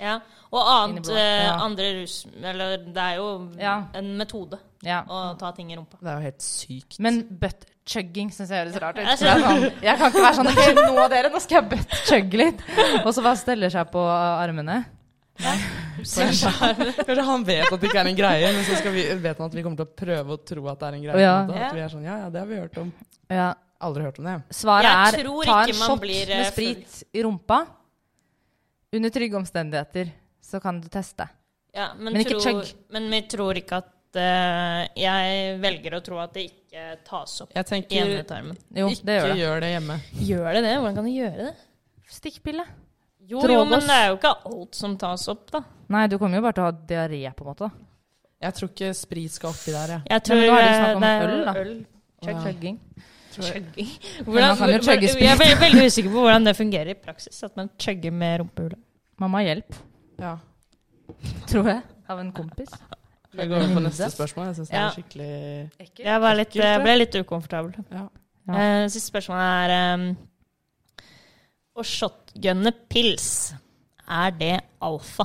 Speaker 3: Ja. Og annet,
Speaker 2: Inni blodet,
Speaker 3: eh,
Speaker 2: ja.
Speaker 3: andre rus Eller det er jo
Speaker 2: Ja.
Speaker 3: en metode
Speaker 2: Ja.
Speaker 3: å ta ting i rumpa.
Speaker 1: det er jo helt sykt.
Speaker 2: Men butt-chugging syns jeg høres rart ut.
Speaker 3: Jeg
Speaker 2: For det er Sånn, jeg kan ikke være sånn Ok, nå dere, nå skal jeg butt-chugge litt. Og så bare steller seg på armene.
Speaker 1: Kanskje han vet at det ikke er en greie, men så skal vi, vet han at vi kommer til å prøve å tro at det er en greie.
Speaker 2: Ja.
Speaker 1: på en måte.
Speaker 3: Ja.
Speaker 1: At vi er sånn, ja, ja, det har vi hørt om.
Speaker 2: Ja.
Speaker 1: Aldri hørt om det.
Speaker 2: Svaret
Speaker 3: Jeg
Speaker 2: er
Speaker 3: tror
Speaker 2: ta en
Speaker 3: ikke man
Speaker 2: shot
Speaker 3: blir, eh,
Speaker 2: med sprit i rumpa. Under trygge omstendigheter så kan du teste.
Speaker 3: Ja, men,
Speaker 2: Men ikke
Speaker 3: tror,
Speaker 2: chug.
Speaker 3: Men vi tror ikke at eh, Jeg velger å tro at det ikke tas opp i
Speaker 1: Jeg tenker
Speaker 3: endetarmen.
Speaker 2: Jo,
Speaker 1: ikke
Speaker 2: det gjør det.
Speaker 1: gjør det hjemme.
Speaker 3: Gjør det det? Hvordan kan du gjøre det?
Speaker 2: Stikkpille.
Speaker 3: Jo,
Speaker 2: Trådløs.
Speaker 3: jo, men det er jo ikke alt som tas opp, da.
Speaker 2: Nei, du kommer jo bare til å ha diaré, på en måte. da.
Speaker 1: Jeg tror ikke sprit skal oppi der, jeg.
Speaker 3: Jeg
Speaker 2: Ja, men nå er det
Speaker 3: eh,
Speaker 2: snakk om
Speaker 3: det er
Speaker 2: øl, da.
Speaker 1: Chug, Ja.
Speaker 2: Chugging.
Speaker 3: Chugging.
Speaker 2: man kan jo
Speaker 3: hvor-
Speaker 2: chugge
Speaker 3: Jeg er veldig, veldig usikker på hvordan det fungerer i praksis, at man chugger med rumpehullet.
Speaker 2: Mamma, hjelp.
Speaker 1: Ja.
Speaker 2: Tror jeg. Av en kompis.
Speaker 1: Jeg går over på neste
Speaker 2: Hundre.
Speaker 1: spørsmål. Jeg synes det
Speaker 3: Ja.
Speaker 1: er skikkelig
Speaker 2: Ekkelt.
Speaker 3: Jeg var litt,
Speaker 1: Ekkelt, det.
Speaker 3: ble litt ukomfortabel.
Speaker 1: ja.
Speaker 2: Ja.
Speaker 3: Eh, siste spørsmål er um, Å shotgunne pils, er det alfa?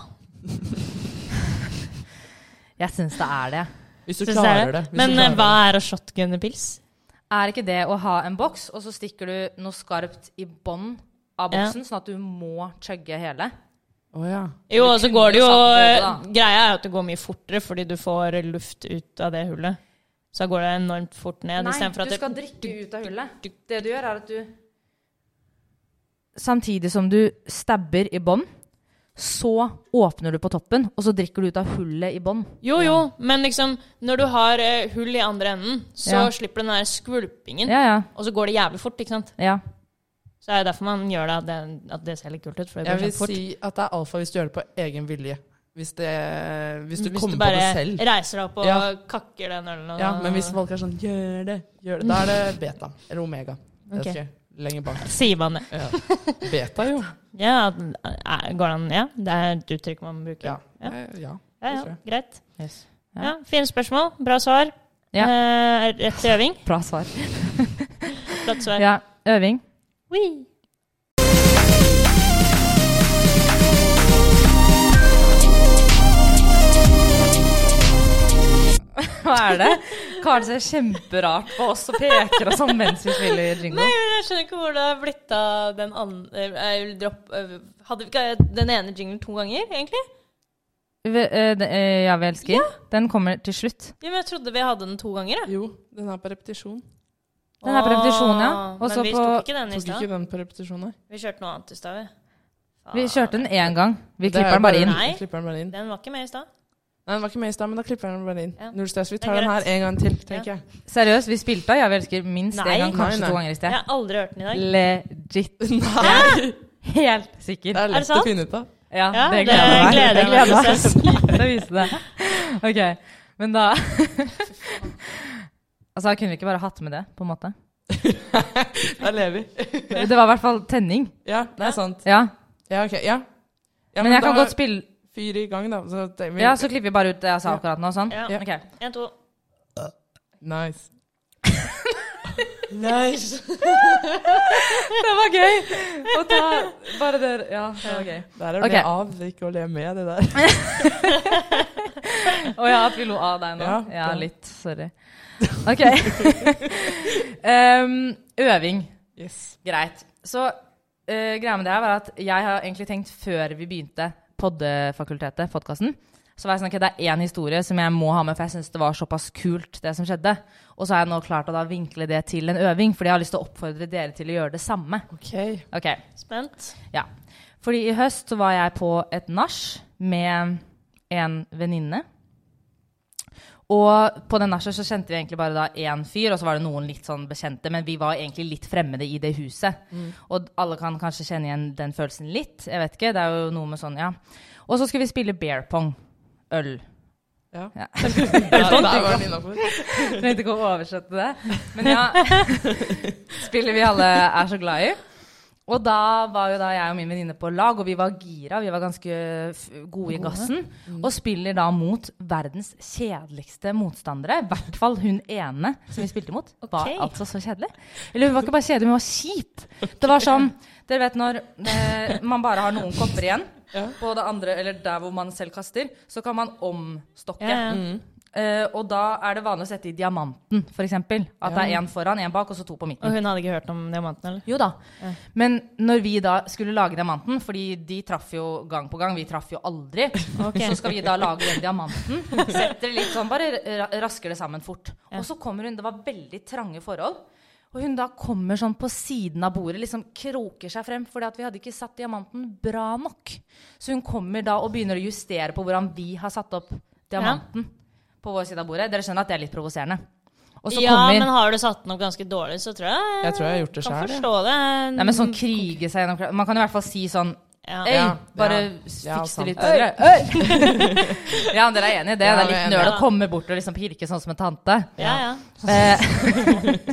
Speaker 2: Jeg syns det er det.
Speaker 1: Hvis du
Speaker 3: Synes jeg
Speaker 1: klarer
Speaker 3: det.
Speaker 1: det. Hvis
Speaker 3: Men
Speaker 1: du
Speaker 3: eh,
Speaker 1: klarer
Speaker 3: hva er å shotgunne pils?
Speaker 2: Er ikke det å ha en boks, og så stikker du noe skarpt i bånn av
Speaker 3: Ja.
Speaker 2: boksen, sånn at du må chugge hele?
Speaker 1: det. Å ja.
Speaker 3: Jo, og så går det jo
Speaker 2: Samme båt,
Speaker 3: Greia er jo at det går mye fortere, fordi du får luft ut av det hullet. Så går det enormt fort ned.
Speaker 2: Nei,
Speaker 3: istedenfor
Speaker 2: du
Speaker 3: at det-
Speaker 2: skal drikke ut av hullet. Det du gjør, er at du Samtidig som du stabber i bånn, så åpner du på toppen, og så drikker du ut av hullet i bånn.
Speaker 3: Jo, jo, men liksom når du har eh, hull i andre enden, så
Speaker 2: Ja.
Speaker 3: slipper du den der skvulpingen,
Speaker 2: Ja, ja.
Speaker 3: og så går det jævlig fort, ikke sant?
Speaker 2: ja.
Speaker 3: Så er det derfor man gjør det, at det, at det ser litt kult ut. For det
Speaker 1: Jeg
Speaker 3: går
Speaker 1: vil
Speaker 3: så fort.
Speaker 1: si at det er alfa hvis du gjør det på egen vilje. Hvis, det, hvis du
Speaker 3: Hvis
Speaker 1: kommer
Speaker 3: du bare
Speaker 1: på det selv.
Speaker 3: reiser deg opp og
Speaker 1: Ja.
Speaker 3: kakker den ølen. og-
Speaker 1: Ja, men hvis folk er sånn Gjør det, gjør det. Da er det beta. Eller omega. Jeg
Speaker 3: Ok.
Speaker 1: vet ikke. Lenger bak.
Speaker 3: Sier man det.
Speaker 1: Ja. Beta, jo.
Speaker 3: Ja, at- er- går det an? Ja, det er et uttrykk man bruker.
Speaker 1: Ja.
Speaker 3: Ja.
Speaker 1: Eh, ja.
Speaker 3: ja,
Speaker 1: tror
Speaker 3: ja greit.
Speaker 2: Yes. Ja.
Speaker 3: Ja. Fine spørsmål, bra svar.
Speaker 2: Ja.
Speaker 3: Eh, rett til øving.
Speaker 2: Bra svar.
Speaker 3: Flott svar.
Speaker 2: Ja. Øving.
Speaker 3: Wee.
Speaker 2: Hva er det? Karen ser kjemperart på oss og peker oss om mens vi spiller jingle.
Speaker 3: Nei, men jeg skjønner ikke hvor det har blitt av den andre jeg vil droppe- eh, Hadde vi ikke den ene jinglen to ganger, egentlig?
Speaker 2: Ve- eh, de- eh, Ja, vi elsker. Den kommer til slutt.
Speaker 3: Ja, men Jeg trodde vi hadde den to ganger. Jeg.
Speaker 1: Jo, den er på repetisjon.
Speaker 2: Den er på repetisjon, ja.
Speaker 3: Åh,
Speaker 2: Og så
Speaker 3: men vi
Speaker 2: på
Speaker 3: tok ikke den i
Speaker 1: Tok ikke
Speaker 3: stad.
Speaker 1: den på repetisjon, nei.
Speaker 3: Vi kjørte noe annet i stad, vi. Ah.
Speaker 2: Vi kjørte den én gang. Vi
Speaker 1: Det er
Speaker 2: klipper den bare inn.
Speaker 3: Nei.
Speaker 1: Klipper den bare inn.
Speaker 3: Den var ikke med i stad.
Speaker 1: Nei, den var ikke med i stad, men da klipper jeg den bare inn.
Speaker 3: Ja.
Speaker 1: Null stress. Vi
Speaker 3: Det er
Speaker 1: tar den her
Speaker 3: greit.
Speaker 1: en gang til, tenker jeg.
Speaker 2: Seriøst, vi spilte av Ja, vi elsker minst
Speaker 3: Nei.
Speaker 2: én gang, kanskje
Speaker 1: Nei, nei.
Speaker 2: to ganger i
Speaker 3: Jeg
Speaker 2: sted.
Speaker 3: har aldri hørt den i dag.
Speaker 2: Legit.
Speaker 1: Nei!
Speaker 2: Helt
Speaker 1: Det
Speaker 2: sikker.
Speaker 1: er
Speaker 3: det
Speaker 1: lett å
Speaker 3: sant?
Speaker 1: finne ut av.
Speaker 2: Ja,
Speaker 3: Ja,
Speaker 2: det gleder jeg meg. Det
Speaker 3: gleder jeg
Speaker 2: gleder
Speaker 3: meg til å se.
Speaker 2: jeg meg til å vise det. Ok, men da Altså, kunne vi ikke bare hatt med det, på en måte?
Speaker 1: Der lever vi.
Speaker 2: Det var i hvert fall tenning.
Speaker 1: Ja, det er sant.
Speaker 2: Ja.
Speaker 1: Ja, ok. Ja. ja
Speaker 2: Men jeg kan
Speaker 1: da
Speaker 2: godt spille
Speaker 1: Fyr i gang, da. Så det, vi,
Speaker 2: Ja, så klipper vi bare ut det jeg sa akkurat nå, sånn.
Speaker 3: Ja.
Speaker 2: Ok.
Speaker 3: En, to.
Speaker 1: Nice. nice.
Speaker 2: Det var gøy! Å ta bare det Ja, det var gøy.
Speaker 1: Der er å
Speaker 2: Ok.
Speaker 1: le av, det er ikke å le med, det der.
Speaker 2: Å ja, at vi lo av deg nå? Ja,
Speaker 1: Ja, det-
Speaker 2: litt. Sorry. OK. Em, øving.
Speaker 1: Yes.
Speaker 2: Greit. Så eh, greia med det her var at jeg har egentlig tenkt før vi begynte poddefakultetet, podkasten, så var jeg sånn, ok, det er én historie som jeg må ha med, for jeg syns det var såpass kult, det som skjedde. Og så har jeg nå klart å da vinkle det til en øving, fordi jeg har lyst til å oppfordre dere til å gjøre det samme.
Speaker 1: Ok.
Speaker 2: Ok,
Speaker 3: Spent.
Speaker 2: ja. Fordi i høst så var jeg på et nach med en venninne. Og på den nachet så kjente vi egentlig bare da én fyr, og så var det noen litt sånn bekjente, men vi var egentlig litt fremmede i det huset. Og alle kan kanskje kjenne igjen den følelsen litt. Jeg vet ikke. Det er jo noe med sånn, ja. Og så skulle vi spille bear pong. Øl.
Speaker 1: Ja.
Speaker 2: Ja.
Speaker 1: Der var den innafor.
Speaker 2: Trengte ikke å oversette det. Men ja. Spillet vi alle er så glad i. Og da var jo da jeg og min venninne på lag, og vi var gira. Vi var ganske f gode i gassen.
Speaker 3: Mm.
Speaker 2: Og spiller da mot verdens kjedeligste motstandere. I hvert fall hun ene som vi spilte mot. Var
Speaker 3: Ok.
Speaker 2: altså så kjedelig. Eller hun var ikke bare kjedelig, hun var kjip. Det var sånn Dere vet når eh, man bare har noen kopper igjen, på det andre, eller der hvor man selv kaster, så kan man omstokke.
Speaker 3: Ja, ja.
Speaker 1: Mm.
Speaker 2: Eh, og da er det vanlig å sette i diamanten, f.eks. At det er én foran, én bak, og så to på midten.
Speaker 3: Og hun hadde ikke hørt om diamanten, eller?
Speaker 2: Jo da. Men når vi da skulle lage diamanten, fordi de traff jo gang på gang, vi traff jo aldri, så skal vi da lage den diamanten. Setter det litt sånn, bare ra- rasker det sammen fort. Og så kommer hun, det var veldig trange forhold. Og hun da kommer sånn på siden av bordet, liksom kroker seg frem, fordi at vi hadde ikke satt diamanten bra nok. Så hun kommer da og begynner å justere på hvordan vi har satt opp diamanten på vår side av bordet. Dere skjønner at det er litt provoserende. Og så
Speaker 3: Ja,
Speaker 2: kommer
Speaker 3: men har du satt den opp ganske dårlig, så tror jeg
Speaker 1: Jeg tror jeg har gjort det
Speaker 3: kan
Speaker 1: sjøl.
Speaker 3: forstå det.
Speaker 2: Nei, men sånn krige seg gjennom kla- Man kan i hvert fall si sånn
Speaker 3: Ja.
Speaker 2: Øy,
Speaker 1: Ja,
Speaker 2: bare
Speaker 1: ja.
Speaker 2: fiks
Speaker 1: Ja,
Speaker 2: det
Speaker 1: sant.
Speaker 2: litt bedre. Øy! ja, men dere er enige i det? det er
Speaker 1: Ja, vi er
Speaker 2: litt
Speaker 1: enige.
Speaker 2: nøl å komme bort og liksom pirke sånn som en tante.
Speaker 3: Ja, ja.
Speaker 2: Eh,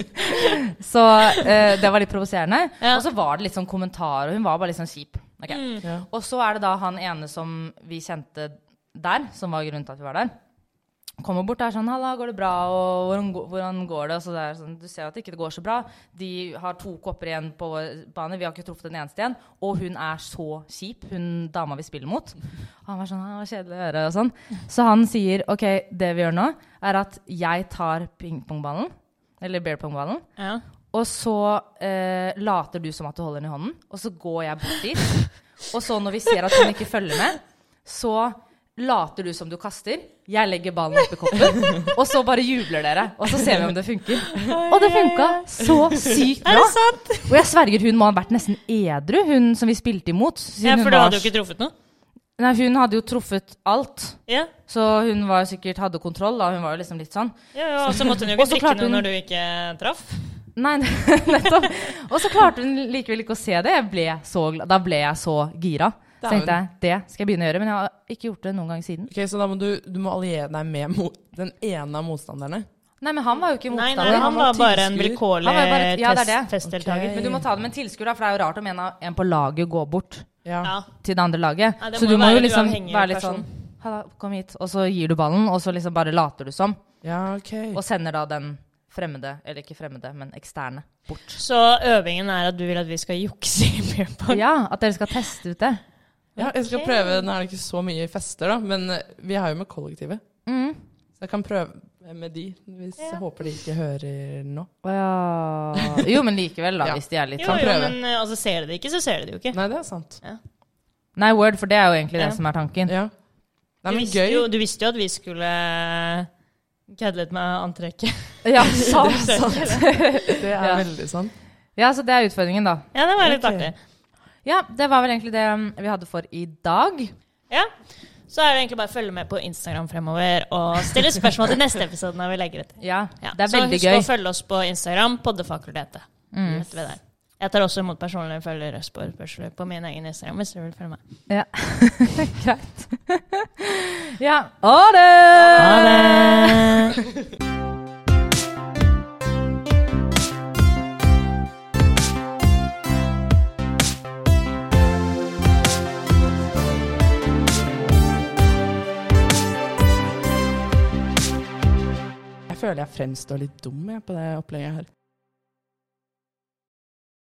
Speaker 2: så eh, det var litt provoserende.
Speaker 3: Ja. Mm.
Speaker 2: Og så var det litt sånn kommentar, og hun var bare litt sånn kjip. Ok.
Speaker 1: Ja.
Speaker 2: Og så er det da han ene som vi kjente der, som var grunnen til at vi var der. Kommer bort der sånn 'Halla, går det bra?' og 'Hvordan, gå- hvordan går det?' Og så det er sånn, Du ser jo at det ikke går så bra. De har to kopper igjen på vår bane. Vi har ikke truffet den eneste igjen. Og hun er så kjip, hun dama vi spiller mot. Og han var sånn «Ah, 'Kjedelig å gjøre', og sånn. Så han sier 'OK, det vi gjør nå, er at jeg tar pingpongballen', eller bear pong-ballen,
Speaker 3: ja.
Speaker 2: og så eh, later du som at du holder den i hånden, og så går jeg bort dit. Og så når vi ser at hun ikke følger med, så later du som du kaster. Jeg legger ballen oppi koppen, og så bare jubler dere. Og så ser vi om det funker. Og det funka så sykt
Speaker 3: Er
Speaker 2: bra.
Speaker 3: det sant?
Speaker 2: Og jeg sverger hun må ha vært nesten edru, hun som vi spilte imot. siden
Speaker 3: Ja,
Speaker 2: hun
Speaker 3: for du
Speaker 2: var
Speaker 3: hadde jo
Speaker 2: s-
Speaker 3: ikke truffet noe.
Speaker 2: Nei, hun hadde jo truffet alt.
Speaker 3: Ja,
Speaker 2: Så hun var sikkert hadde kontroll, da. Hun var jo liksom litt sånn.
Speaker 3: ja, ja. Og så måtte hun jo
Speaker 2: Og
Speaker 3: ikke
Speaker 2: så
Speaker 3: drikke
Speaker 2: klarte
Speaker 3: noe
Speaker 2: hun-
Speaker 3: når du ikke traff.
Speaker 2: Nei, nettopp. Og så klarte hun likevel ikke å se det. Jeg ble så glad. Da ble jeg så gira. Så
Speaker 1: Dæven.
Speaker 2: tenkte jeg, det skal jeg begynne å gjøre, men jeg har ikke gjort det noen gang siden.
Speaker 1: Ok, Så da må du, du må alliere deg med mo den ene av motstanderne?
Speaker 2: Nei, men han var jo ikke
Speaker 3: Nei, nei,
Speaker 2: motstander.
Speaker 3: han
Speaker 1: var
Speaker 3: var bare en
Speaker 1: tilskuer.
Speaker 3: vilkårlig
Speaker 2: Han var bare et- ja, det er det.
Speaker 3: test- testdeltaker.
Speaker 1: Ok.
Speaker 2: Men du må ta det med en tilskuer, da, for det er jo rart om en, av, en på laget går bort
Speaker 1: Ja.
Speaker 3: Ja.
Speaker 2: til det andre laget.
Speaker 3: Nei, det
Speaker 2: så
Speaker 3: må
Speaker 2: du må
Speaker 3: være
Speaker 2: jo
Speaker 3: en
Speaker 2: liksom
Speaker 3: uavhengig
Speaker 2: være litt
Speaker 3: person.
Speaker 2: sånn Halla, kom hit. Og så gir du ballen, og så liksom bare later du som.
Speaker 1: ja, ok.
Speaker 2: Og sender da den fremmede, eller ikke fremmede, men eksterne, bort.
Speaker 3: Så øvingen er at du vil at vi skal jukse i beer pong.
Speaker 2: Ja, at dere skal teste ut det.
Speaker 1: Ja, jeg skal prøve. Nå er det ikke så mye fester, da, men eh, vi har jo med kollektivet.
Speaker 2: Mm.
Speaker 1: Så jeg kan prøve Hvem er de? Hvis jeg håper de ikke hører nå.
Speaker 2: Å ja. Jo, men likevel, da,
Speaker 1: Ja.
Speaker 2: hvis de er litt
Speaker 3: Jo,
Speaker 2: sånn.
Speaker 3: jo,
Speaker 1: prøve.
Speaker 3: men eh, altså, ser de det ikke, så ser de det jo ikke.
Speaker 1: Nei, det er sant.
Speaker 2: Nei, word, for det er jo egentlig
Speaker 3: Ja.
Speaker 2: det som er tanken.
Speaker 1: Ja. Nei,
Speaker 3: Du
Speaker 1: men
Speaker 3: visste, jo,
Speaker 1: gøy.
Speaker 3: du visste jo at vi skulle kødde litt med antrekket.
Speaker 2: Ja, sant.
Speaker 1: Det er
Speaker 2: Ja.
Speaker 1: veldig sant.
Speaker 2: ja, så det er utfordringen, da.
Speaker 3: Ja, det var litt
Speaker 1: Ok.
Speaker 3: artig.
Speaker 2: Ja, det var vel egentlig det um, vi hadde for i dag.
Speaker 3: Ja. Så er det egentlig bare å følge med på Instagram fremover og stille spørsmål til neste episode når vi legger ut.
Speaker 2: Ja,
Speaker 3: Ja.
Speaker 2: det er
Speaker 3: så
Speaker 2: veldig
Speaker 3: husk
Speaker 2: gøy.
Speaker 3: å følge oss på Instagram, Poddefakultetet.
Speaker 2: Mm.
Speaker 3: Møter vi der. Jeg tar også imot personlige følgerspørsmål på min egen Instagram. hvis du vil følge meg.
Speaker 2: Ja. Greit. ja. Ha det!
Speaker 3: Ha det!
Speaker 1: Jeg føler jeg fremstår litt dum jeg, på det opplegget her.